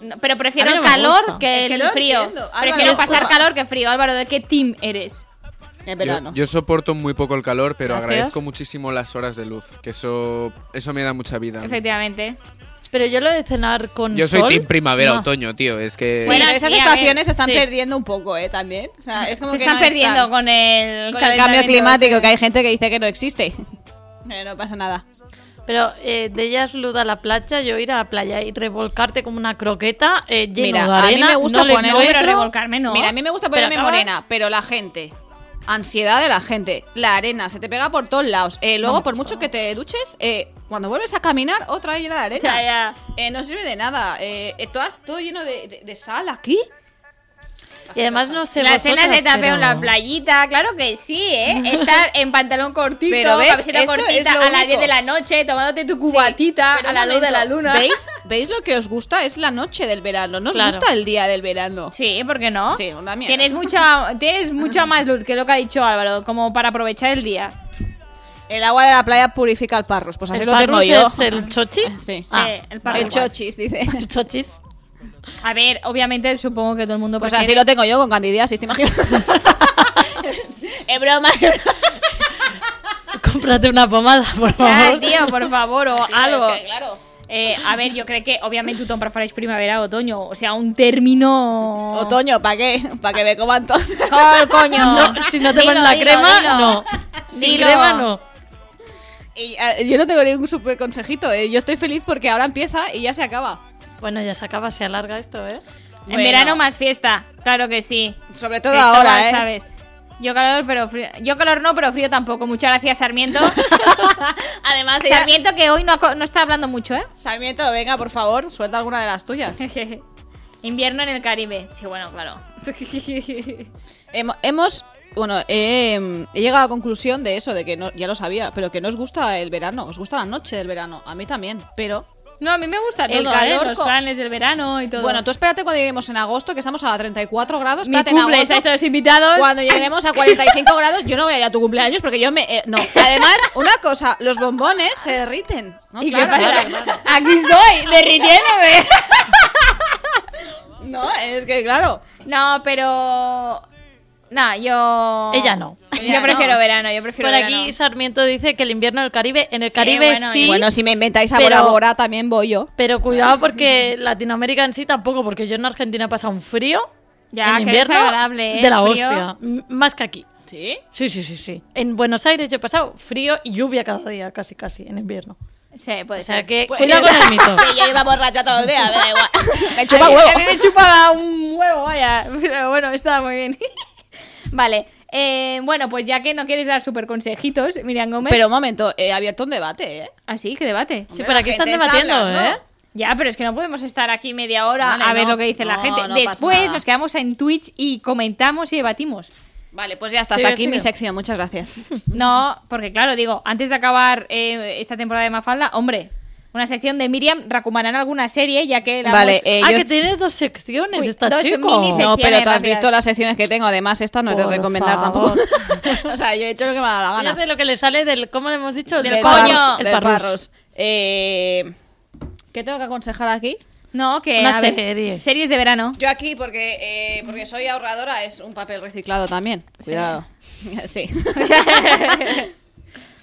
S2: no, pero prefiero
S5: A mí no
S2: el
S5: me
S2: calor
S5: gusta.
S2: que
S5: Es que
S2: el
S5: no
S2: frío.
S5: entiendo. Álvaro,
S2: prefiero
S5: disculpa.
S2: pasar calor que frío. Álvaro, ¿de qué team eres?
S5: En
S6: Yo,
S5: verano.
S6: yo soporto muy poco el calor, pero
S2: Gracias.
S6: agradezco muchísimo las horas de luz, que eso, eso me da mucha vida.
S2: Efectivamente.
S4: Pero yo lo de cenar con
S6: Yo soy
S4: sol,
S6: team primavera,
S4: no.
S6: otoño, tío. Es que.
S5: Bueno,
S2: Bueno,
S5: esas
S2: sí, a ver,
S5: estaciones se están
S4: sí.
S5: perdiendo un poco, ¿eh? También. O sea, es como
S2: Se
S5: que
S2: están
S5: no
S2: perdiendo con el,
S5: con el cambio
S2: calentamiento,
S5: climático,
S2: sí.
S5: que hay gente que dice que no existe. Eh, no pasa nada.
S4: Pero eh, de ellas luda a la playa, yo ir a la playa y revolcarte como una croqueta eh, lleno
S5: Mira,
S4: de
S5: a mí
S4: arena.
S5: me gusta
S4: no le
S5: poner-
S2: No, pero
S4: encuentro-
S2: revolcarme no.
S5: Mira, a mí me gusta
S2: Pero
S5: ponerme
S2: acabas-
S5: morena, pero la gente. Ansiedad de la gente, la arena, se te pega por todos lados. Eh, luego, por mucho que te duches, eh, cuando vuelves a caminar, otra llena de arena.
S2: Ya, ya.
S5: Eh, no sirve de nada. Eh, eh, todo, todo lleno de, de- de sal aquí.
S4: Y además no sé
S2: Las cenas de
S4: vosotras,
S2: tapeo en la
S4: pero-
S2: playita, claro que sí, ¿eh? Estar en pantalón cortito,
S5: Pero ves,
S2: camiseta
S5: esto es
S2: cortita
S5: lo
S2: a las
S5: único.
S2: 10 de la noche, tomándote tu cubatita
S5: pero
S2: a
S5: un
S2: la luz de la
S5: momento,
S2: luna.
S5: ¿Veis? ¿Veis lo que os gusta? Es la noche del verano. No os
S4: Claro.
S5: gusta el día del verano.
S2: Sí, ¿por qué no?
S5: Sí, una mierda.
S2: Tienes mucha, tienes mucha más luz que lo que ha dicho Álvaro, como para aprovechar el día.
S5: El agua de la playa purifica el parrus. Pues así
S4: ¿El
S5: lo tengo
S4: parrus
S5: yo.
S4: es el chochi?
S5: Sí.
S4: Ah,
S2: Sí, el
S5: El
S2: parrus.
S5: chochis, dice.
S4: El chochis.
S2: A ver, obviamente supongo que todo el mundo
S5: Pues
S2: prefiere-
S5: así lo tengo yo con candidiasis, ¿te imaginas? es broma.
S4: Cómprate una pomada, por
S2: Ya,
S4: favor.
S2: Ah, tío, por favor, o algo.
S5: que, claro.
S2: Eh, a ver, yo creo que obviamente tú preferís primavera o otoño, o sea, un término...
S5: Otoño, ¿para qué? ¿Para que me coman todo?
S2: ¡Col, coño!
S4: No, si no te
S2: Dilo,
S4: pones la
S2: dilo,
S4: crema,
S2: dilo.
S4: no. Sin
S2: Dilo.
S4: crema, no.
S5: Y, eh, yo no tengo ningún super consejito. eh. Yo estoy feliz porque ahora empieza y ya se acaba.
S4: Bueno, ya se acaba, se alarga esto, ¿eh?
S2: En
S5: Bueno.
S2: verano más fiesta, claro que sí.
S5: Sobre todo
S2: Esto
S5: ahora,
S2: va,
S5: ¿eh?
S2: ¿sabes? Yo calor, pero frío. Yo calor no, pero frío tampoco. Muchas gracias, Sarmiento.
S5: Además, ella-
S2: Sarmiento que hoy no, ha co- no está hablando mucho, ¿eh?
S5: Sarmiento, venga, por favor, suelta alguna de las tuyas.
S2: Invierno en el Caribe. Sí, bueno, claro. Pero
S5: Hemo- Hemos, bueno, eh, he llegado a la conclusión de eso, de que no, ya lo sabía, pero que no os gusta el verano, os gusta la noche del verano. A mí también, pero...
S2: no, a mí me gusta todo,
S5: El
S2: ¿eh?
S5: calor
S2: Los
S5: co-
S2: planes del verano y todo.
S5: Bueno, tú espérate cuando lleguemos en agosto, que estamos a 34 grados.
S2: Mi
S5: espérate en
S2: cumple,
S5: agosto.
S2: estáis todos invitados.
S5: Cuando lleguemos a 45 grados, yo no voy a ir a tu cumpleaños porque yo me. eh, no. Además, una cosa, los bombones se derriten. ¿no?
S2: ¿Y
S5: Claro,
S2: qué pasa?
S5: claro.
S2: Aquí estoy, derritiéndome.
S5: No, es que claro.
S2: no, pero... No, yo...
S4: Ella no.
S5: Ella
S2: yo prefiero
S5: no.
S2: verano, yo prefiero
S4: Por
S2: verano.
S4: aquí Sarmiento dice que el invierno del Caribe, en el
S2: Sí,
S4: Caribe
S2: bueno,
S4: sí,
S2: y-
S5: Bueno, si me inventáis a
S4: Pero-
S5: Bora Bora, también voy yo.
S4: pero cuidado porque Latinoamérica en sí tampoco, porque yo en Argentina he pasado un frío
S2: Ya,
S4: en
S2: qué
S4: invierno
S2: desagradable, ¿eh?
S4: de la
S2: Frío.
S4: hostia, M- más que aquí.
S5: ¿Sí?
S4: Sí, sí, sí, sí. En Buenos Aires yo he pasado frío y lluvia cada día, casi, casi, en invierno.
S2: Sí, puede
S4: O sea
S2: ser.
S4: que cuidado con el mito.
S5: yo iba borracha todo el día, me da igual. Me
S2: A
S5: chupa
S2: mí-
S5: huevo.
S2: A mí me chupaba un huevo, vaya. Pero bueno, estaba muy bien. vale. eh, bueno, pues ya que no quieres dar super consejitos, Miriam Gómez.
S5: Pero un momento, he abierto un debate, ¿eh?
S2: Así, que debate.
S4: Sí,
S5: Hombre,
S4: por
S5: la
S4: aquí están
S5: gente está
S4: debatiendo, ¿eh?
S5: hablando.
S2: Ya, pero es que no podemos estar aquí media hora
S5: Vale,
S2: a ver
S5: no.
S2: lo que dice la
S5: No,
S2: gente.
S5: no pasa
S2: Después
S5: nada.
S2: nos quedamos en Twitch y comentamos y debatimos.
S5: Vale, pues ya está,
S4: Sigue,
S5: hasta aquí
S4: sigue.
S5: mi sección, muchas gracias.
S2: No, porque claro, digo, antes de acabar eh, esta temporada de Mafalda, hombre, una sección de Miriam recomendarán alguna serie, ya que la
S5: Vale,
S2: hemos-
S5: eh,
S4: ah,
S5: yo-
S4: que tiene dos secciones
S2: Uy,
S4: esta
S2: dos
S4: chico.
S2: minisec-
S5: No, pero tú has
S2: rápidas.
S5: visto las secciones que tengo, además esta no es de
S4: Por
S5: recomendar
S4: favor.
S5: tampoco. o sea, yo he hecho lo que me ha dado la gana.
S4: Fíjate lo que le sale del, ¿cómo le hemos dicho?
S5: Del
S4: parrus,
S5: parrus,
S4: el
S5: del
S4: parrus.
S5: parrus. Eh, ¿Qué tengo que aconsejar aquí?
S2: No, que
S4: Una
S2: a ver,
S4: serie.
S2: series de verano.
S5: Yo aquí, porque, eh, porque soy ahorradora, es un papel reciclado también. Cuidado. Sí.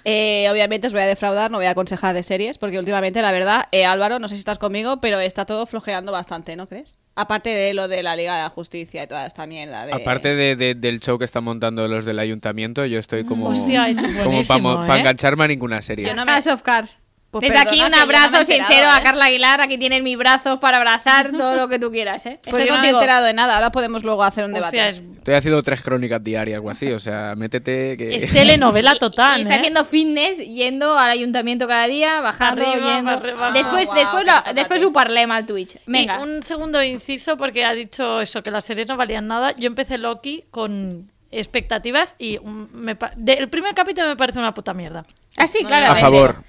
S5: Eh, obviamente os voy a defraudar, no voy a aconsejar de series, porque últimamente, la verdad, eh, Álvaro, no sé si estás conmigo, pero está todo flojeando bastante, ¿no crees? Aparte de lo de la Liga de la Justicia y toda esta mierda de...
S6: Aparte de, de- del show que están montando los del ayuntamiento, yo estoy como.
S4: Hostia, eso es
S6: como para
S4: buenísimo, ¿eh?
S6: engancharme a ninguna serie.
S5: Yo no me-
S2: House of Cards.
S5: Pues
S2: Desde
S5: perdona
S2: aquí un
S5: que yo no me he
S2: abrazo
S5: enterado,
S2: sincero a
S5: ¿eh?
S2: Carla Aguilar. Aquí tienes mis brazos para abrazar todo lo que tú quieras, ¿eh?
S5: Pues
S2: Estoy
S5: yo no me he
S2: contigo.
S5: enterado de nada, ahora podemos luego hacer un debate.
S4: Hostia, es,
S6: Estoy haciendo tres crónicas diarias o así, o sea, métete que.
S4: es telenovela
S2: Y
S4: total,
S2: está
S4: ¿eh?
S2: haciendo fitness, yendo al ayuntamiento cada día, bajando,
S4: Arriba,
S2: yendo.
S4: arriba.
S2: Después, después,
S5: Guau, qué
S2: la-
S5: chocolate.
S2: después su parlema al Twitch. Venga.
S4: Y un segundo inciso, porque ha dicho eso, que las series no valían nada. Yo empecé Loki con expectativas y mm, me pa- de- el primer capítulo me parece una puta mierda.
S2: Ah, sí, claro.
S6: a favor.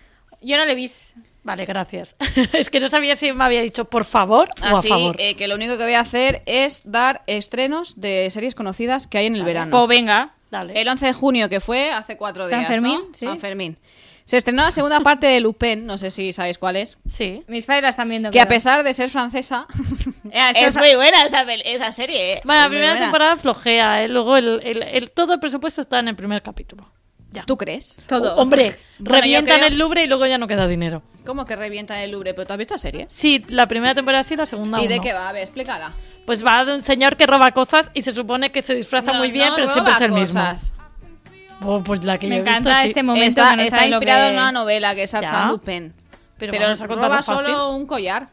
S2: Yo no le vis.
S4: Vale, gracias. es que no sabía si me había dicho por favor o a
S5: Así
S4: favor.
S5: eh, que lo único que voy a hacer es dar estrenos de series conocidas que hay en el verano.
S2: Pues venga.
S4: Dale.
S5: El 11 de junio, que fue hace cuatro
S2: San
S5: días.
S2: Fermín,
S5: ¿no?
S2: sí.
S5: San Fermín. Se estrenó la segunda parte de Lupin, no sé si sabéis cuál es.
S4: Sí.
S2: Mis padres la están viendo.
S5: Que a
S2: creo.
S5: pesar de ser francesa,
S2: Eh, esto
S5: es muy buena esa, pel- esa serie. eh.
S4: Bueno, la
S5: Muy
S4: primera
S5: buena.
S4: temporada flojea, ¿eh? luego el, el- el- todo el presupuesto está en el primer capítulo. Ya.
S5: ¿Tú crees?
S2: Todo.
S4: Hombre,
S5: Bueno, yo
S4: revientan
S5: creo-
S4: el Louvre y luego ya no queda dinero.
S5: ¿Cómo que revienta el Louvre? ¿Pero tú has visto la serie?
S4: Sí, la primera temporada sí, la segunda
S5: ¿Y de
S4: no.
S5: qué va? A ver, explícala.
S4: Pues va de un señor que roba cosas y se supone que se disfraza
S5: No,
S4: muy bien,
S5: no
S4: pero siempre es
S5: roba
S4: el mismo.
S5: cosas.
S4: Oh, pues la que
S2: Me
S4: yo he visto,
S2: encanta
S4: sí.
S2: este momento.
S5: está
S2: que no
S5: está
S2: sabe lo
S5: inspirado
S2: que-
S5: en una novela que es
S4: Ya.
S5: Arsène Lupin.
S4: Pero
S5: Pero,
S4: vamos a contarlo
S5: roba
S4: fácil.
S5: solo un collar.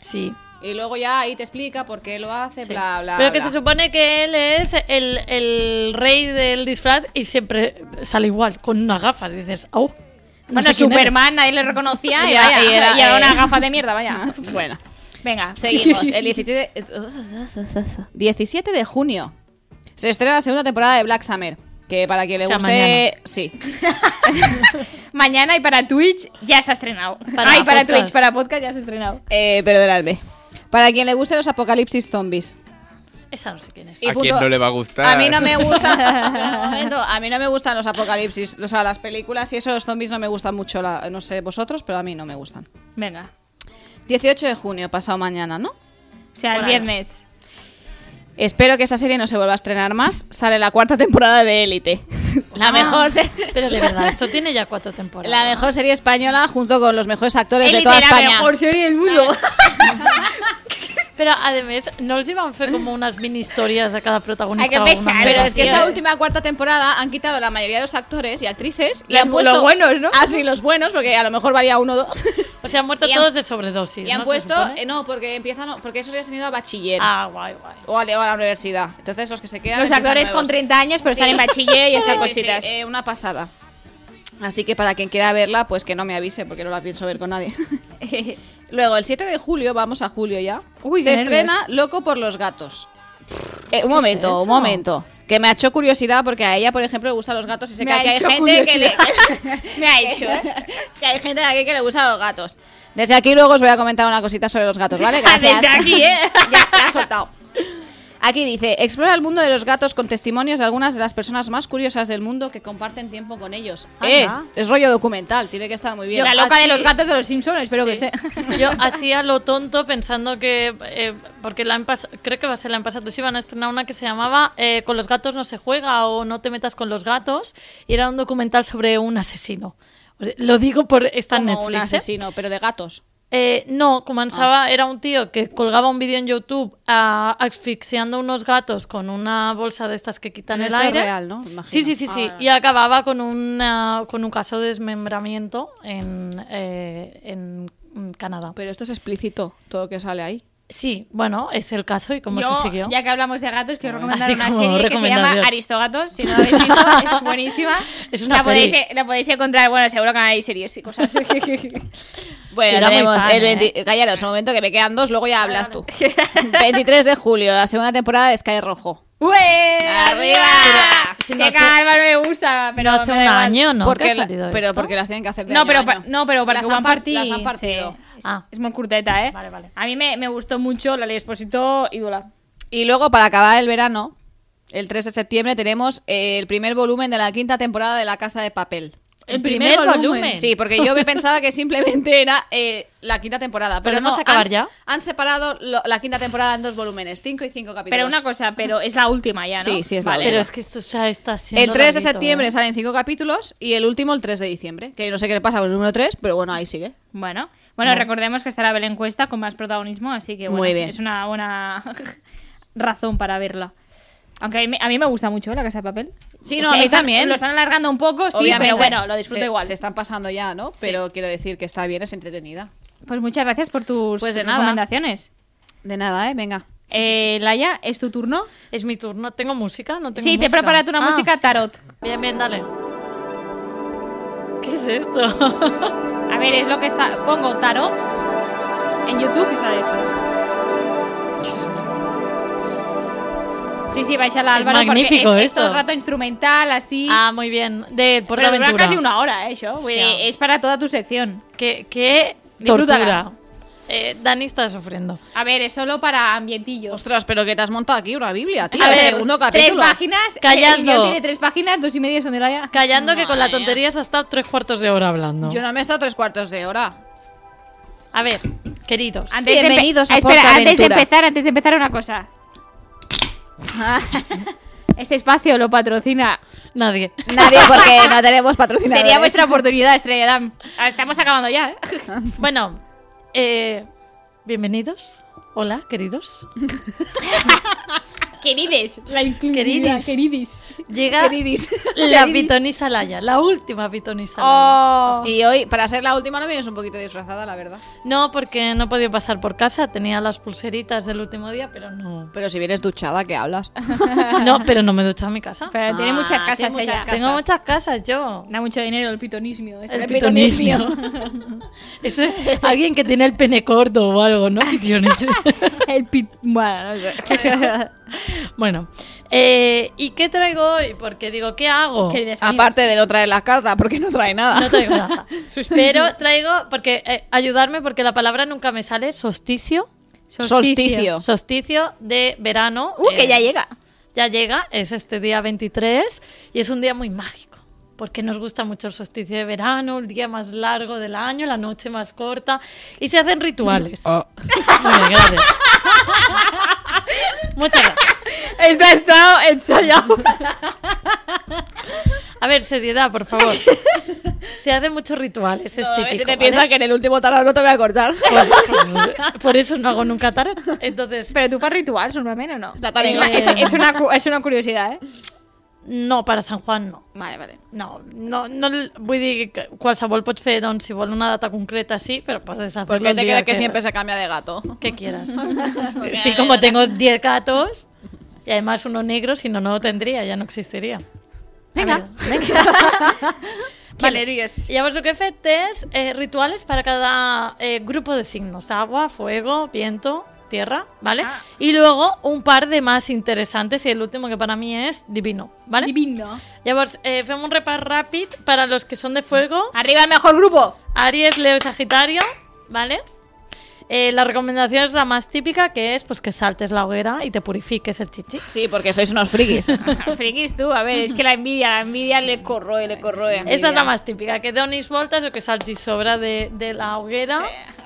S4: Sí.
S5: Y luego ya ahí te explica por qué lo hace,
S4: sí.
S5: bla, bla,
S4: pero que
S5: bla.
S4: se supone que él es el, el rey del disfraz y siempre sale igual, con unas gafas. Dices, ¡au! no
S2: Bueno,
S4: sé quién
S2: Superman, nadie le reconocía. y
S5: Ya,
S2: vaya.
S5: y era,
S2: y ahora
S5: eh.
S2: una gafa de mierda, vaya.
S5: Bueno,
S2: Venga.
S5: seguimos. El 17 17 de junio se estrena la segunda temporada de Black Summer. Que para quien le
S4: O sea,
S5: guste.
S4: mañana.
S5: Sí.
S2: Mañana y para Twitch ya se ha estrenado.
S4: Para
S2: Ay, para
S4: podcast.
S2: Twitch, para podcast ya se ha estrenado.
S5: Eh, perdonadme. Para quien le gusten los apocalipsis zombies.
S4: es. Esa no sé quién es.
S5: Y
S6: ¿A
S5: punto.
S6: quién no le va a gustar?
S5: A mí no me gusta. Pero un momento, a mí no me gustan los apocalipsis. O sea, las películas y esos zombies no me gustan mucho. la- no sé vosotros, pero a mí no me gustan.
S2: Venga.
S5: 18 de junio, pasado mañana, ¿no?
S2: O sea, el
S4: Por ahí.
S2: viernes.
S5: Espero que esta serie no se vuelva a estrenar más. Sale la cuarta temporada de Élite.
S4: Ah.
S5: La mejor se-
S4: Pero de verdad, esto tiene ya cuatro temporadas.
S5: La mejor serie española junto con los mejores actores de
S2: Élite,
S5: toda
S2: la
S5: España.
S2: mejor serie del mundo.
S4: Pero además, ¿no os iban a hacer como unas mini historias a cada protagonista?
S2: Hay que
S4: o alguna
S2: pensar,
S4: mierda
S5: Pero
S2: Pero
S5: es que
S2: sí,
S5: esta
S2: eh.
S5: última cuarta temporada han quitado la mayoría de los actores y actrices y
S2: Los-
S5: han puesto
S2: los buenos, ¿no?
S5: Ah, sí, los buenos, porque a lo mejor varía uno o dos.
S4: O sea, han muerto
S5: Y han-
S4: todos de sobredosis.
S5: y han
S4: ¿no? ¿Se
S5: puesto,
S4: supone?
S5: eh, no, porque empiezan, no, porque esos ya se han ido a bachiller
S4: Ah, guay, guay.
S5: o a, o a la universidad. Entonces los que se quedan
S2: Los
S5: empiezan
S2: actores
S5: nuevos.
S2: con 30 años, pero
S5: Sí.
S2: están en bachiller y
S5: Sí,
S2: esas
S5: sí, sí,
S2: cositas.
S5: eh, una pasada. Así que para quien quiera verla, pues que no me avise, porque no la pienso ver con nadie. Luego, el 7 de julio, vamos a julio ya.
S2: Uy,
S5: se
S2: qué nervios.
S5: estrena Loco por los gatos. Eh, un momento,
S4: eso?
S5: un momento. Que me ha hecho curiosidad porque a ella, por ejemplo, le gustan los gatos y sé
S2: Me
S5: que
S2: ha
S5: aquí hay
S2: hecho
S5: gente que le,
S2: Me ha hecho. ¿eh?
S5: que hay gente aquí que le gustan los gatos. Desde aquí luego os voy a comentar una cosita sobre los gatos, ¿vale? Gracias.
S2: Desde aquí, ¿eh?
S5: ya, la has soltado. Aquí dice, explora el mundo de los gatos con testimonios de algunas de las personas más curiosas del mundo que comparten tiempo con ellos. Eh,
S4: Anda.
S5: es rollo documental, tiene que estar muy bien.
S2: La loca de
S4: así-
S2: los gatos de los Simpsons, espero que esté.
S4: Yo hacía lo tonto pensando que. eh, porque la han pas- creo que va a ser la han pasado. Sí, van a estrenar una que se llamaba eh, Con los gatos no se juega o No te metas con los gatos. Y era un documental sobre un asesino. O sea, Lo digo por esta
S5: como
S4: Netflix.
S5: un
S4: ¿eh?
S5: asesino, Ah. pero de gatos.
S4: Eh, no, comenzaba, era un tío que colgaba un vídeo en YouTube ah, asfixiando unos gatos con una bolsa de estas que quitan
S5: Pero
S4: el
S5: esto es
S4: aire.
S5: real, ¿no? Imagino. Ah,
S4: Sí, sí, sí, sí. Y acababa con, una, con un caso de desmembramiento en, eh, en mm, Canadá.
S5: Pero esto es explícito, todo lo que sale ahí.
S4: Sí, bueno, es el caso y cómo
S2: Yo,
S4: se siguió.
S2: ya que hablamos de gatos, quiero recomendar
S4: así
S2: una
S4: como
S2: serie que se llama
S4: recomendación.
S2: Aristogatos. Si no la habéis visto, es buenísima.
S4: Es una
S2: la, podéis, e-,
S4: peli.
S2: la podéis encontrar, bueno, seguro que hay series y cosas.
S5: Bueno,
S4: Era muy
S5: tenemos
S4: fan,
S5: el
S4: ¿eh?
S5: 20 Callaros, un momento que me quedan dos, luego ya hablas tú. 23 de julio, la segunda temporada de Sky Rojo.
S2: ¡Ué!
S5: ¡Arriba!
S2: Si
S4: Si
S2: sé
S4: no
S2: que
S4: hace-
S2: a Álvaro le gusta, pero
S4: Pero hace
S2: me
S4: un
S2: da igual.
S4: año, ¿no? que ha
S5: Porque la-
S4: salido
S5: pero
S4: esto?
S5: porque las tienen que hacer de
S2: No,
S5: año
S2: pero,
S5: a
S2: pa-
S5: año.
S2: no, pero porque
S5: las
S2: ho
S5: han
S2: han
S5: par-
S2: partit,
S5: Las han partido.
S2: sí. És,
S4: Ah.
S2: és molt curteta, eh?
S4: Vale, vale.
S2: A mí me, me gustó mucho la ley Esposito ídola.
S5: Y luego, para acabar el verano, el 3 de septiembre tenemos eh, el primer volumen de la quinta temporada de La Casa de Papel.
S4: El primer volumen.
S5: Sí, porque yo me pensaba que simplemente era eh, la quinta temporada. Pero
S4: ¿Podemos
S5: no,
S4: acabar
S5: han,
S4: ya?
S5: han separado lo- la quinta temporada en dos volúmenes, cinco y cinco capítulos.
S2: Pero una cosa, pero es la última ya, ¿no?
S5: Sí, sí, es la
S2: Vale.
S5: última.
S4: Pero es que esto ya está siendo
S5: El 3 de
S4: larguito,
S5: septiembre
S4: ¿eh?
S5: salen cinco capítulos y el último el 3 de diciembre. Que no sé qué le pasa con el número 3, pero bueno, ahí sigue.
S2: Bueno, bueno,
S5: No.
S2: recordemos que estará Belén Cuesta con más protagonismo, así que bueno,
S5: Muy bien.
S2: es una buena razón para verla. Aunque a mí, me- a mí me gusta mucho la Casa de Papel.
S5: Sí, no, a mí
S2: están-
S5: también.
S2: Lo están alargando un poco, Pues sí,
S5: Obviamente,
S2: pero bueno, lo disfruto
S5: se-
S2: igual.
S5: Se están pasando ya, ¿no? Pero quiero decir que está bien, es entretenida.
S2: Pues muchas gracias por tus
S5: Pues de nada.
S2: recomendaciones.
S5: De nada, ¿eh? Venga.
S2: Eh, Laia, ¿es tu turno?
S4: Es mi turno. ¿Tengo música? No tengo
S2: sí, te he
S4: música.
S2: preparado una
S4: Ah,
S2: música tarot.
S4: Bien, bien, dale. ¿Qué es esto?
S2: A ver, es lo que sa- pongo tarot en YouTube y sale esto. Sí, sí, vais a la
S4: Es
S2: Álvaro
S4: magnífico
S2: porque es,
S4: esto.
S2: es todo el rato instrumental, así.
S4: ah, muy bien. De
S2: Pero dura
S4: PortAventura.
S2: casi una hora, eh, això. Vull
S4: Sí.
S2: dir, és per a tota tu sección.
S4: Qué, qué
S2: Disfrútala.
S4: tortura. Eh, Dani está sufriendo.
S2: A ver, es solo para ambientillos.
S5: Ostras, pero que te has montado aquí una Biblia, tío.
S4: A
S5: el
S4: ver,
S5: segundo
S2: tres
S5: capítulo.
S2: páginas. eh,
S4: Callando.
S2: el guión tiene tres páginas, dos y media son de Laia.
S4: Callando que con la tontería se ha estado tres cuartos de hora hablando.
S5: Yo no me he estado tres cuartos de hora.
S4: A ver, queridos.
S2: Antes de empe-
S5: Bienvenidos a
S2: Espera, antes de
S5: PortAventura.
S2: empezar, antes de empezar una cosa. Este espacio lo patrocina.
S4: Nadie.
S5: Nadie, porque no tenemos patrocinadores.
S2: Sería vuestra oportunidad, Estrella Damm. Ah, Estamos acabando ya, ¿eh?
S4: Bueno, eh, bienvenidos. Hola, queridos.
S2: Querides, la inclusividad,
S4: Queridis.
S2: queridis.
S4: Llega la pitonisa Laya, la última pitonisa Laya.
S2: Oh.
S5: Y hoy, para ser la última, no vienes un poquito disfrazada, la verdad.
S4: No, porque no he podido pasar por casa. Tenía las pulseritas del último día, pero no.
S5: Pero si vienes duchada, ¿qué hablas?
S4: No, pero no me he duchado en mi casa.
S2: Pero tiene muchas
S5: Ah,
S2: casas
S5: tiene muchas
S2: ella.
S5: casas.
S4: Tengo muchas casas yo.
S2: Da mucho dinero el pitonismo. este.
S4: El pitonismo. Eso es alguien que tiene el pene corto o algo, ¿no? Pitonismo.
S2: El pit... Bueno, no sé.
S4: bueno, eh, ¿y qué traigo hoy? Porque digo, ¿qué hago?
S2: Queridas
S5: Aparte de no traer la carta, porque no trae nada.
S4: No traigo nada. Pero traigo, porque eh, ayudarme, porque la palabra nunca me sale, solsticio.
S2: amigas.
S5: Solsticio.
S4: Solsticio de verano.
S2: Uh, que
S4: eh,
S2: ya llega.
S4: Ya llega, es este día 23 y es un día muy mágico, porque nos gusta mucho el solsticio de verano, el día más largo del año, la noche más corta y se hacen rituales. Muy bien, gracias. Muchas gracias.
S2: Está estado ensayado.
S4: A ver, seriedad, por favor. Se hacen muchos rituales, es típico. ¿vale?
S5: que en el último tarot no te voy a cortar.
S4: Pues- pues, por eso no hago nunca tarot. Entonces,
S2: Pero tú para ritual, normalmente o no.
S5: Está tan
S2: Es,
S5: igual.
S2: es- es una, cu- es una curiosidad, ¿eh?
S4: no, para San Juan no.
S2: Vale, vale.
S4: No, no, no el- vull dir que qualsevol pot fer, doncs, si vol una data concreta sí, pero pues deshacerlo
S5: ¿Por qué
S4: el
S5: te
S4: día
S5: crees que siempre se cambia de gato?
S4: que quieras. sí, como tengo 10 gatos y además uno negro, si no, no lo tendría, ya no existiría. Venga.
S2: Vale, nervios.
S4: Llavors el que he fet és eh, rituales para cada eh, grupo de signos. Agua, fuego, viento, tierra, ¿vale?
S2: Ah.
S4: Y luego un par de más interesantes y el último que para mí es divino, ¿vale?
S2: Divino.
S4: Llavors, eh, fem un repàs ràpid per a los que són de fuego.
S2: Arriba el mejor grupo.
S4: Aries, Leo y Sagitario, ¿vale? Eh, la recomendación es la más típica, que es pues que saltes la hoguera y te purifiques el chichi.
S5: Sí, porque sois unos frikis.
S2: Frikis tú, a ver, es que la envidia, la envidia le corroe, le corroe.
S4: Esta es la más típica, que donis vueltas o que saltis sobra de, de la hoguera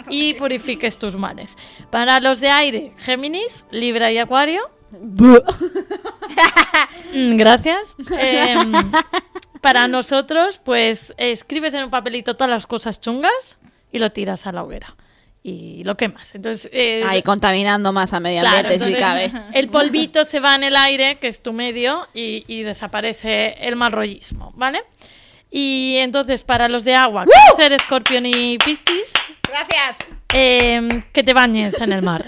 S4: y purifiques tus males. Para los de aire, Géminis, Libra y Acuario. Mm, Gracias. Em, para nosotros, pues escribes en un papelito todas las cosas chungas y lo tiras a la hoguera. Y lo quemas. Entonces, eh,
S5: Ahí contaminando más a medio
S4: Claro,
S5: ambiente, si
S4: entonces,
S5: cabe.
S4: El polvito se va en el aire, que es tu medio, y, y desaparece el mal rollismo, ¿vale? Y entonces, para los de agua, cáncer, escorpión y piscis,
S5: Gracias.
S4: eh, que te bañes en el mar.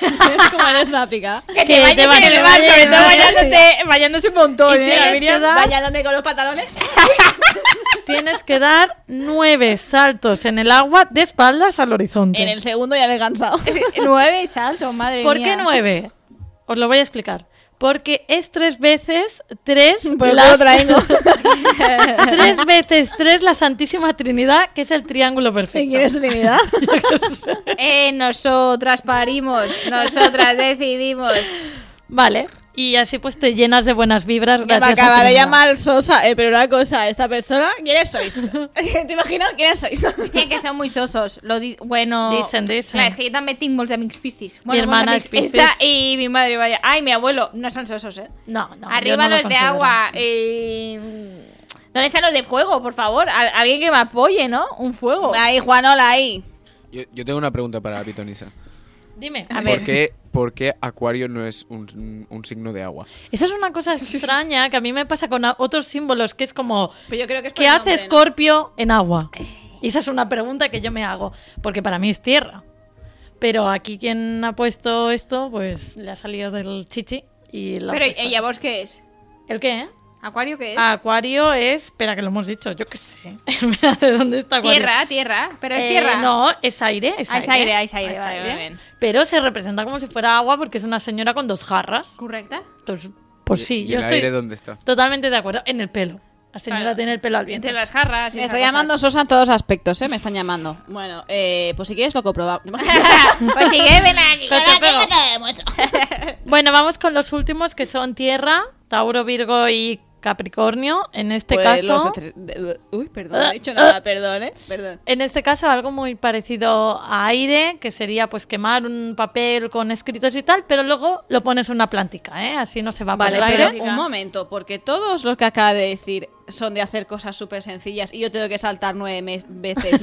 S5: Como eres la pica.
S2: Que
S4: que
S2: te vayas
S4: te
S2: en
S4: vayas,
S2: el mar, sobre
S4: vayas,
S2: todo bañándote, bañándose un montón,
S4: Y
S2: ¿eh?
S4: tienes
S2: Miriam?
S4: que dar-
S5: Bañándome con los pantalones.
S4: Tienes que dar nueve saltos en el agua de espaldas al horizonte.
S5: En el segundo ya me he cansado.
S2: Nueve salto, madre
S4: ¿Por
S2: mía.
S4: qué nueve? Os lo voy a explicar. Porque es tres veces tres
S5: Pues
S4: las-
S5: lo traigo.
S4: tres veces tres la Santísima Trinidad, que es el triángulo perfecto.
S5: ¿Quién es Trinidad?
S2: Eh, nosotras parimos, nosotras decidimos.
S4: Vale. Y así pues te llenas de buenas vibras.
S5: me
S4: gracias a
S5: acaba
S4: tu
S5: de
S4: vida.
S5: llamar Sosa, eh, pero una cosa, esta persona, ¿quiénes sois? ¿Te imaginas quiénes sois?
S2: Dicen Eh, que són molt sosos. Lo di... Bueno...
S4: Dicen, dicen.
S2: Clar, és que jo també tinc molts amics pistis. Bueno, molts
S4: hermana
S2: amics
S4: és piscis.
S2: Esta i mi madre, vaya. Ai, mi abuelo, no són sosos, eh?
S4: No, no. yo
S2: Arriba
S4: no lo
S2: los de
S4: considero.
S2: agua. eh, ¿Dónde están los de fuego, por favor? Al- alguien que me apoye, ¿no? Un fuego.
S5: Ahí, Juanola, ahí.
S6: Yo, yo tengo una pregunta para la pitonisa.
S4: Dime.
S6: ¿Por qué, por qué Acuario no es un, un signo de agua?
S4: Esa es una cosa extraña que a mí me pasa con a- otros símbolos, que es como,
S5: Pero Pues yo creo que es por
S4: ¿qué
S5: el
S4: hace
S5: nombre, ¿no?
S4: Escorpio en agua? Y esa es una pregunta que yo me hago, porque para mí es tierra. Pero aquí quien ha puesto esto, pues le ha salido del chichi y lo ha
S2: Pero
S4: puesto.
S2: ella, ¿vos qué es?
S4: ¿El qué? eh?
S2: ¿Acuario qué es?
S4: Acuario es, espera que lo hemos dicho, yo qué sé. Espera, ¿de dónde está Acuario?
S2: tierra, tierra. Pero es
S4: Eh,
S2: tierra.
S4: No, es aire, es
S2: Ah,
S4: aire.
S2: es aire, ah, es aire, vale, vale, bien.
S4: Pero se representa como si fuera agua porque es una señora con dos jarras.
S2: ¿Correcta?
S4: Entonces, pues sí,
S6: ¿Y- y
S4: yo
S6: el
S4: estoy
S6: aire dónde está?
S4: totalmente de acuerdo. En el pelo. La señora
S2: Claro.
S4: tiene el pelo al viento.
S2: Entre las jarras. y
S5: Me
S2: esas
S5: está
S2: cosas.
S5: llamando Sosa en todos aspectos, ¿eh? Me están llamando. Bueno, eh, pues si quieres lo comprobamos.
S2: pues sigue, ven aquí.
S4: Con tu pelo. Bueno, vamos con los últimos que son Tierra, Tauro, Virgo y Capricornio. En este
S5: Pues
S4: caso.
S5: los tres- de- Uy, perdón, no he dicho nada, perdón, ¿eh? Perdón.
S4: En este caso, algo muy parecido a aire, que sería pues quemar un papel con escritos y tal, pero luego lo pones en una plántica, ¿eh? Así no se va
S5: Vale,
S4: por el
S5: pero
S4: aire.
S5: un momento, porque todos los que acaba de decir son de hacer cosas súper sencillas y yo tengo que saltar nueve mes- veces,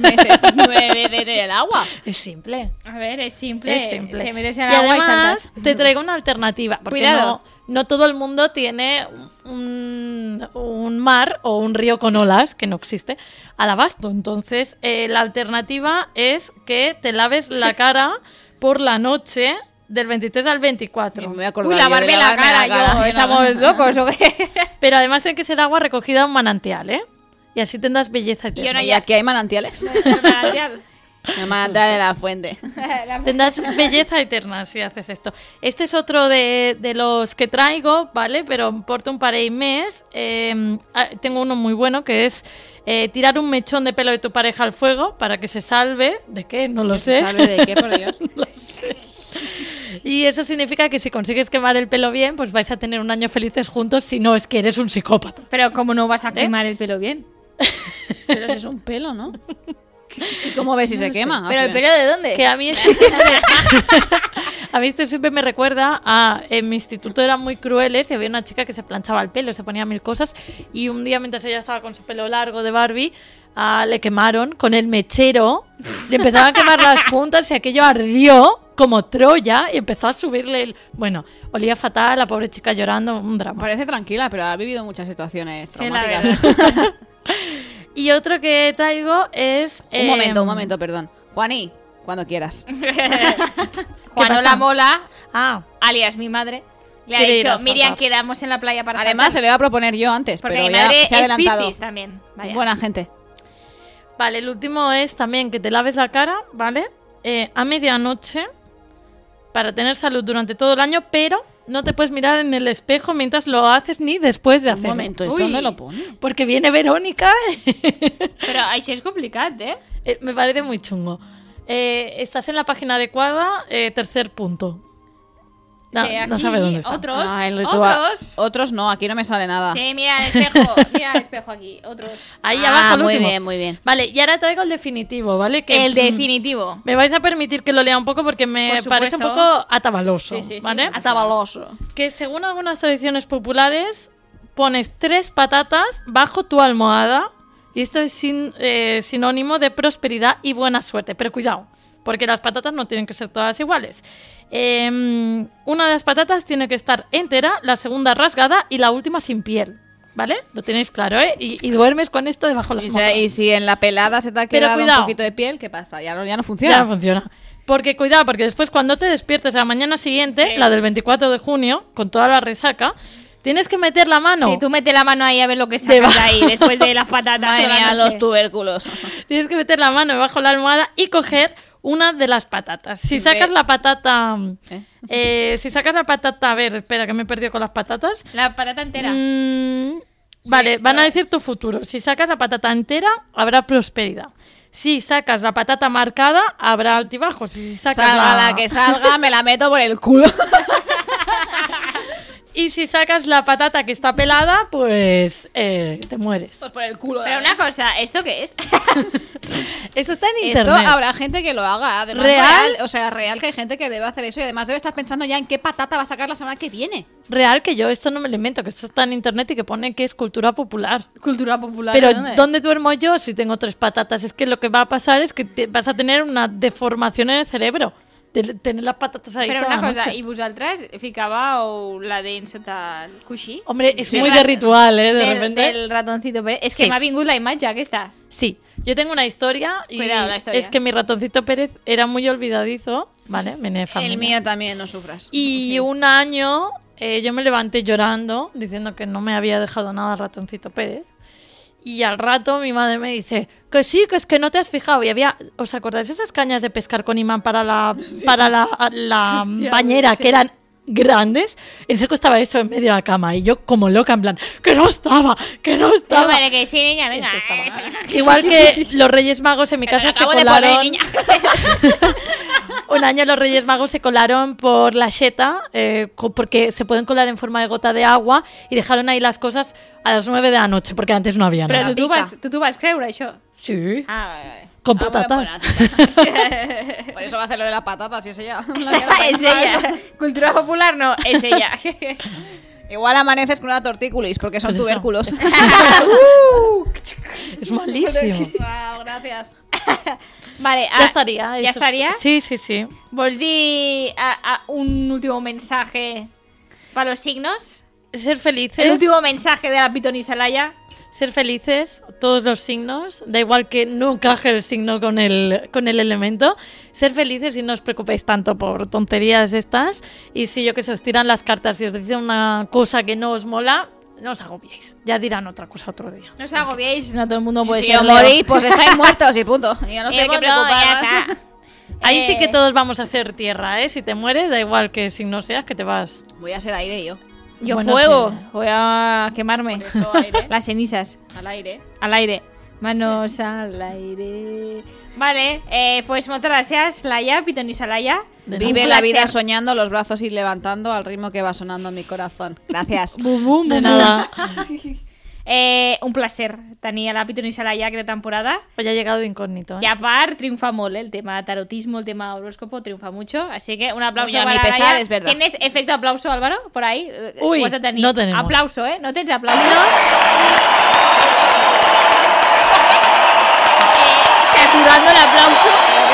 S5: meses, nueve veces en el agua.
S4: Es simple.
S2: A ver, es simple.
S4: Es simple.
S2: Te metes en el
S4: y
S2: agua y
S4: además,
S2: saltas.
S4: te traigo una alternativa. Porque
S2: Cuidado.
S4: No, no todo el mundo tiene un, un mar o un río con olas, que no existe, al abasto. Entonces, eh, la alternativa es que te laves la cara por la noche del 23 al 24.
S5: Me voy a acordar
S2: Uy, lavarme
S5: yo de
S2: la cara,
S5: lavarme la cara.
S2: yo. ¿Estamos locos o qué?
S4: Pero además hay que ser agua recogida de un manantial, ¿eh? Y así tendrás belleza
S2: Yo no-
S4: eterna.
S5: Y aquí hay manantiales. El manantial de la fuente.
S2: La-
S4: Tendrás belleza eterna si haces esto. Este es otro de, de los que traigo, ¿vale? Pero porto un parell mes. Eh, ah, tengo uno muy bueno que es eh, tirar un mechón de pelo de tu pareja al fuego para que se salve. ¿De qué? No lo sé.
S5: ¿Sabe de qué, por Dios?
S4: Y eso significa que si consigues quemar el pelo bien, pues vais a tener un año felices juntos. Si no, es que eres un psicópata.
S2: Pero como no vas a quemar el pelo bien.
S5: Pero si es un pelo, ¿no? ¿Y cómo ves si se quema?
S2: ¿Pero el pelo de dónde?
S4: Que a mí esto siempre, a mí esto siempre me recuerda a. En mi instituto eran muy crueles y había una chica que se planchaba el pelo, se ponía mil cosas. Y un día, mientras ella estaba con su pelo largo de Barbie, ah, le quemaron con el mechero. Le empezaron a quemar las puntas y aquello ardió como Troya y empezó a subirle el. Bueno, olía fatal, la pobre chica llorando, un drama.
S5: Parece tranquila, pero ha vivido muchas situaciones
S2: Sí, la
S5: traumáticas.
S4: Y otro que traigo es.
S5: un
S2: Eh,
S5: momento,
S4: em,
S5: un
S2: mm.
S5: momento, perdón. Juaní, cuando quieras.
S2: Juanola
S4: pasa?
S2: Mola,
S4: Ah,
S2: alias mi madre, le ha
S4: Quiere ir a
S2: dicho,
S4: saltar.
S2: Miriam, quedamos en la playa para
S5: Además, se
S2: saltar".
S5: le iba a proponer yo antes,
S2: Porque
S5: pero
S2: mi
S5: ya
S2: madre
S5: se ha
S2: es
S5: adelantado.
S2: piscis también. Vaya.
S5: Buena gente.
S4: Vale, el último es también que te laves la cara, ¿vale? Eh, a medianoche para tener salud durante todo el año, pero no te puedes mirar en el espejo mientras lo haces ni después de
S5: Un
S4: hacerlo.
S5: momento, ¿esto
S2: Uy.
S5: dónde lo pone?
S4: Porque viene Verónica.
S2: Pero això és complicat, eh?
S4: Eh, Me parece muy chungo. Eh, estás en la página adecuada, eh, tercer punto. No,
S2: Sí,
S4: no
S2: aquí
S4: sabe dónde está.
S2: Otros,
S5: Ah, el ritual.
S2: otros.
S5: Otros no, aquí no me sale nada.
S2: Sí, mira el espejo, mira el espejo aquí, otros.
S4: Ahí
S5: Ah,
S4: abajo el
S5: muy
S4: último.
S5: bien, muy bien.
S4: Vale, y ahora traigo el definitivo, ¿vale? Que, mm.
S2: El definitivo.
S4: Me vais a permitir que lo lea un poco porque me
S2: Por
S4: parece un
S2: supuesto.
S4: poco atabaloso, ¿vale?
S5: Atabaloso.
S4: que según algunas tradiciones populares pones tres patatas bajo tu almohada y esto es sin- eh, sinónimo de prosperidad y buena suerte. Pero cuidado, porque las patatas no tienen que ser todas iguales. Em, una de las patatas tiene que estar entera, la segunda rasgada y la última sin piel. ¿Vale? Lo tenéis claro, ¿eh? Y, y duermes con esto debajo de la
S5: Y,
S4: almohada.
S5: si- y si en la pelada se te ha
S4: Pero
S5: quedado un
S4: cuidado.
S5: poquito de piel, ¿qué pasa? Ya no, ya no
S4: Ya
S5: funciona.
S4: no funciona. Porque cuidado, porque después cuando te despiertes a la mañana siguiente, la del 24 de junio, con toda la resaca, tienes que meter la mano.
S2: Si tú mete la mano ahí a ver lo que sacas
S4: Debajo.
S2: de ahí después de las patatas.
S5: Madre
S2: por la
S5: mía,
S2: noche.
S5: los tubérculos.
S4: Tienes que meter la mano bajo la almohada y coger una de las patatas. Si
S5: Ve-
S4: sacas la patata.
S5: ¿Eh?
S4: eh, si sacas la patata. A ver, espera, que me he perdido con las patatas.
S2: La patata entera.
S4: Mm, vale, van a decir tu futuro. Si sacas la patata entera, habrá prosperidad. Si sacas la patata marcada, habrá altibajos. Si sacas
S5: Salga la que salga, me la meto por el culo.
S4: y si sacas la patata que está pelada, pues eh, te mueres.
S5: Pues por el culo.
S2: Pero una cosa, ¿esto qué es?
S4: Eso está en
S5: Esto
S4: internet.
S5: habrá gente que lo haga. Además,
S4: Real.
S5: real. O sea, real que hay gente que debe hacer eso y además debe estar pensando ya en qué patata va a sacar la semana que viene.
S4: Real que yo esto no me lo invento, que esto está en internet y que pone que es cultura popular.
S2: Cultura popular.
S4: Pero
S2: ¿dónde?
S4: ¿dónde? duermo yo si tengo tres patatas? Es que lo que va a pasar es que te- vas a tener una deformación en el cerebro. de tener las patatas ahí
S2: Però
S4: toda
S2: una
S4: la
S2: cosa,
S4: noche.
S2: i vosaltres ficàveu la dent sota el coixí?
S4: Hombre, es
S2: Del
S4: muy
S2: rat-
S4: de ritual, ¿eh? De
S2: del,
S4: repente.
S2: Del ratoncito Pérez. És que
S4: Sí.
S2: m'ha vingut la imatge aquesta.
S4: Sí, yo tengo una historia y
S2: Cuidado, la historia.
S4: es que mi ratoncito Pérez era muy olvidadizo, ¿vale? Viene de familia.
S5: El mío también, no sufras.
S4: Y un año eh, yo me levanté llorando, diciendo que no me había dejado nada el ratoncito Pérez. Y al rato mi madre me dice, que sí, que es que no te has fijado. Y había, ¿os acordáis esas cañas de pescar con imán para la, para la, la
S2: Hostia,
S4: bañera,
S2: sí.
S4: que eran grandes? El seco estaba eso en medio de la cama y yo como loca, en plan, que no estaba, que no
S2: Però
S4: estaba.
S2: vale, que sí, niña, venga.
S4: Igual que los Reyes Magos en mi casa se colaron. Un año los Reyes Magos se colaron por la xeta, eh, co- porque se pueden colar en forma de gota de agua y dejaron ahí las cosas a las 9 de la noche, porque antes no había
S2: Però
S4: nada.
S2: tu t'ho vas, tu t'ho vas creure, això?
S4: Sí,
S2: Ah, vale,
S4: con
S5: Ah, bueno,
S4: patatas.
S2: vale.
S5: Por eso va a hacer lo de la patata, si es ella.
S2: és ella. Cultura popular no, és ella.
S5: Igual amaneces con una tortícolis porque son
S4: Pues eso.
S5: tubérculos. Uh,
S4: es malísimo.
S5: Guau, gracias.
S2: vale,
S4: ya
S2: ah,
S4: estaría.
S2: ¿Ya
S4: eso
S2: estaría?
S4: Sí, sí, sí.
S2: Vols dir ah, ah, un último mensaje para los signos?
S4: Ser
S2: El
S4: felices.
S2: último mensaje de la Pitoni Salaya.
S4: Ser felices, todos los signos, da igual que no encaje el signo con el, con el elemento, ser felices y no os preocupéis tanto por tonterías estas. Y si yo que sé, os tiran las cartas y os dicen una cosa que no os mola, no os agobiéis. Ya dirán otra cosa otro día.
S2: No os agobiéis, no todo el mundo puede
S5: si
S2: ser
S5: os
S2: Leo.
S5: morís, pues estáis muertos y punto. Y ya no os
S2: Eh,
S5: tenéis que
S2: que no,
S5: preocupar
S2: ya
S5: más.
S2: está.
S4: Ahí
S2: Eh,
S4: sí que todos vamos a ser tierra, ¿eh? Si te mueres, da igual que signo seas, que te vas.
S5: Voy a ser aire yo.
S2: Yo
S4: Bueno,
S2: fuego,
S4: sí.
S2: voy a quemarme.
S5: Eso aire.
S2: Las cenizas,
S5: Al aire.
S2: al aire. Manos al aire. Vale, eh, pues muchas gracias, Laia, Pitoni Salaya.
S4: De
S5: Vive
S2: Un
S5: la
S2: placer.
S5: vida soñando, los brazos y levantando al ritmo que va sonando en mi corazón. Gracias.
S4: De nada.
S2: Eh, un placer tenir a la Pitoni Salaya aquesta temporada.
S4: Hoy ha Pues llegado de incógnito. ¿eh?
S2: Y aparte triunfa molt, eh, el tema tarotismo, el tema horóscopo, triunfa mucho. Así que un aplauso
S5: Muy a mi
S2: para
S5: pesar,
S2: Laia.
S5: es verdad.
S2: ¿Tienes efecto aplauso, Álvaro? Por ahí. Eh,
S4: Uy,
S2: ho has de tenir.
S4: no tenemos.
S2: Aplauso, ¿eh? No tens aplauso. Eh, saturando el aplauso.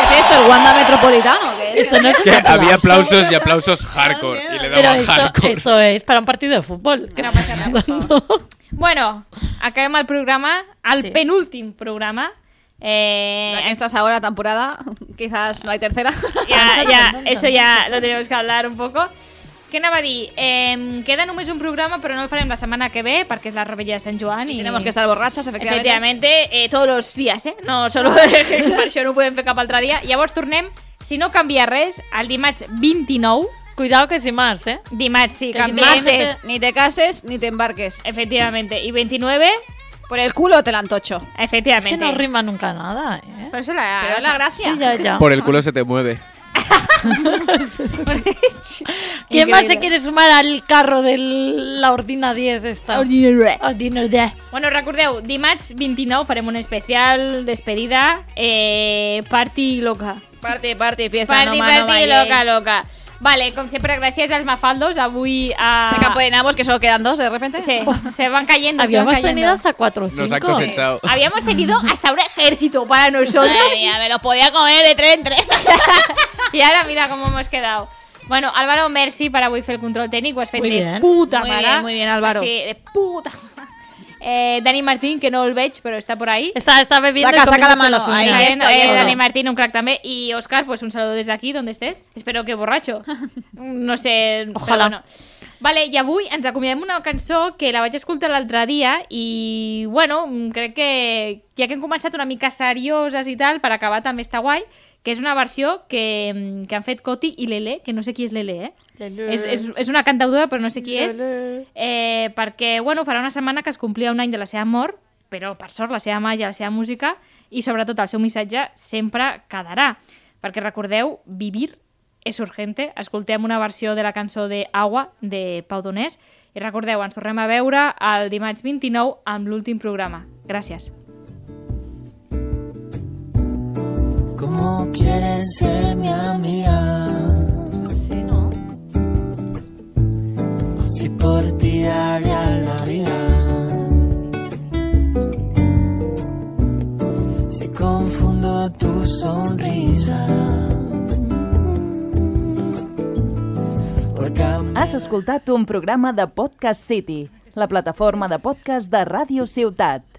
S5: ¿Qué es esto? ¿El Wanda Metropolitano? ¿Qué es?
S4: Esto no es
S6: Que
S4: un aplauso.
S6: había aplausos y aplausos hardcore. Y le
S4: Pero
S6: daba
S4: esto,
S6: hardcore.
S4: esto es para un partido de fútbol. ¿Qué estás hablando?
S2: Bueno, acabem el programa, el
S4: Sí.
S2: penúltim programa. Eh,
S5: Ya que estás ahora temporada, quizás no hay tercera.
S2: ya, ya, eso ya lo tenemos que hablar un poco. Què anava a dir? Eh, queda només un programa, però no el farem la setmana que ve, perquè és la rebella de Sant Joan. I,
S5: Tenemos que estar borrachas, efectivamente.
S2: Efectivamente, eh, todos los días, ¿eh? No solo per això no ho podem fer cap altre dia. Llavors tornem, si no canvia res, el dimarts 29.
S4: Cuidado que sin más, ¿eh?
S2: Dimarts sí,
S4: Que
S2: canviem.
S5: Martes, ni te cases ni te embarques.
S4: Eh.
S2: Efectivamente. I 29,
S5: Por el culo te la antocho.
S4: Es que
S2: efectivamente.
S4: no rima nunca nada, ¿eh?
S2: Por eso la,
S5: Pero es la gracia.
S4: Sí, ya, ya.
S6: Por el culo se te mueve.
S4: ¿Quién más
S2: Increíble.
S4: se quiere sumar al carro de la Ordina 10 esta? Ordina 10.
S2: Bueno, recordeu, dimarts 29 farem un especial despedida eh, party loca.
S5: Parte, parte, fiesta,
S2: Party,
S5: no más, no
S2: party
S5: más,
S2: loca,
S5: eh.
S2: loca. Vale, com sempre, gràcies als mafaldos. Avui... A...
S4: em
S5: Se capoeinamos, que solo quedan dos de repente.
S2: Sí, se van cayendo, se van
S4: Habíamos
S2: cayendo.
S4: tenido hasta 4 o 5.
S6: Nos ha cosechado.
S2: Habíamos tenido hasta un ejército para nosotros
S5: Madre mía, me los podía comer de tren, tren.
S2: y ahora mira cómo hemos quedado. Bueno, Álvaro, merci per avui fer el control tècnic, ho has fet
S4: Muy
S2: de
S4: bien.
S2: puta
S5: Muy
S2: mare.
S5: bien, muy bien, Álvaro.
S2: Sí, de puta mare. Eh, Dani Martín, que no el veig, però està por ahí.
S4: Está, está bebiendo
S5: Saca,
S4: y comiéndose
S5: saca la mano,
S4: las uñas.
S5: ahí,
S2: Está
S5: ahí
S2: bien,
S5: esto,
S2: eh,
S5: esto.
S2: Dani Martín, un crack también. Y Oscar, pues un saludo desde aquí, donde estés. Espero que borracho. No sé,
S4: Ojalá.
S2: però bueno. Vale, i avui ens acomiadem una cançó que la vaig escoltar l'altre dia i, bueno, mm, crec que ja que hem començat una mica serioses i tal, per acabar també està guai, que és una versió que, mm, que han fet Coti i Lele, que no sé qui és Lele, eh?
S4: Lele.
S2: És, és, és una cantautora, però no sé qui és.
S4: Lele.
S2: Eh, perquè, bueno, farà una setmana que es complia un any de la seva mort, però, per sort, la seva màgia, la seva música i, sobretot, el seu missatge sempre quedarà. Perquè, recordeu, vivir és urgente. Escoltem una versió de la cançó de Agua, de Pau Donés, i recordeu, ens tornem a veure el dimarts 29 amb l'últim programa. Gràcies.
S9: ¿Cómo quieres ser mi amiga?
S12: Sí, ¿no?
S9: Si por ti daría la vida. Si confundo tu sonrisa.
S12: Mm.
S9: Porque a
S1: Has escoltat un programa de Podcast City, la plataforma de podcast de Ràdio Ciutat.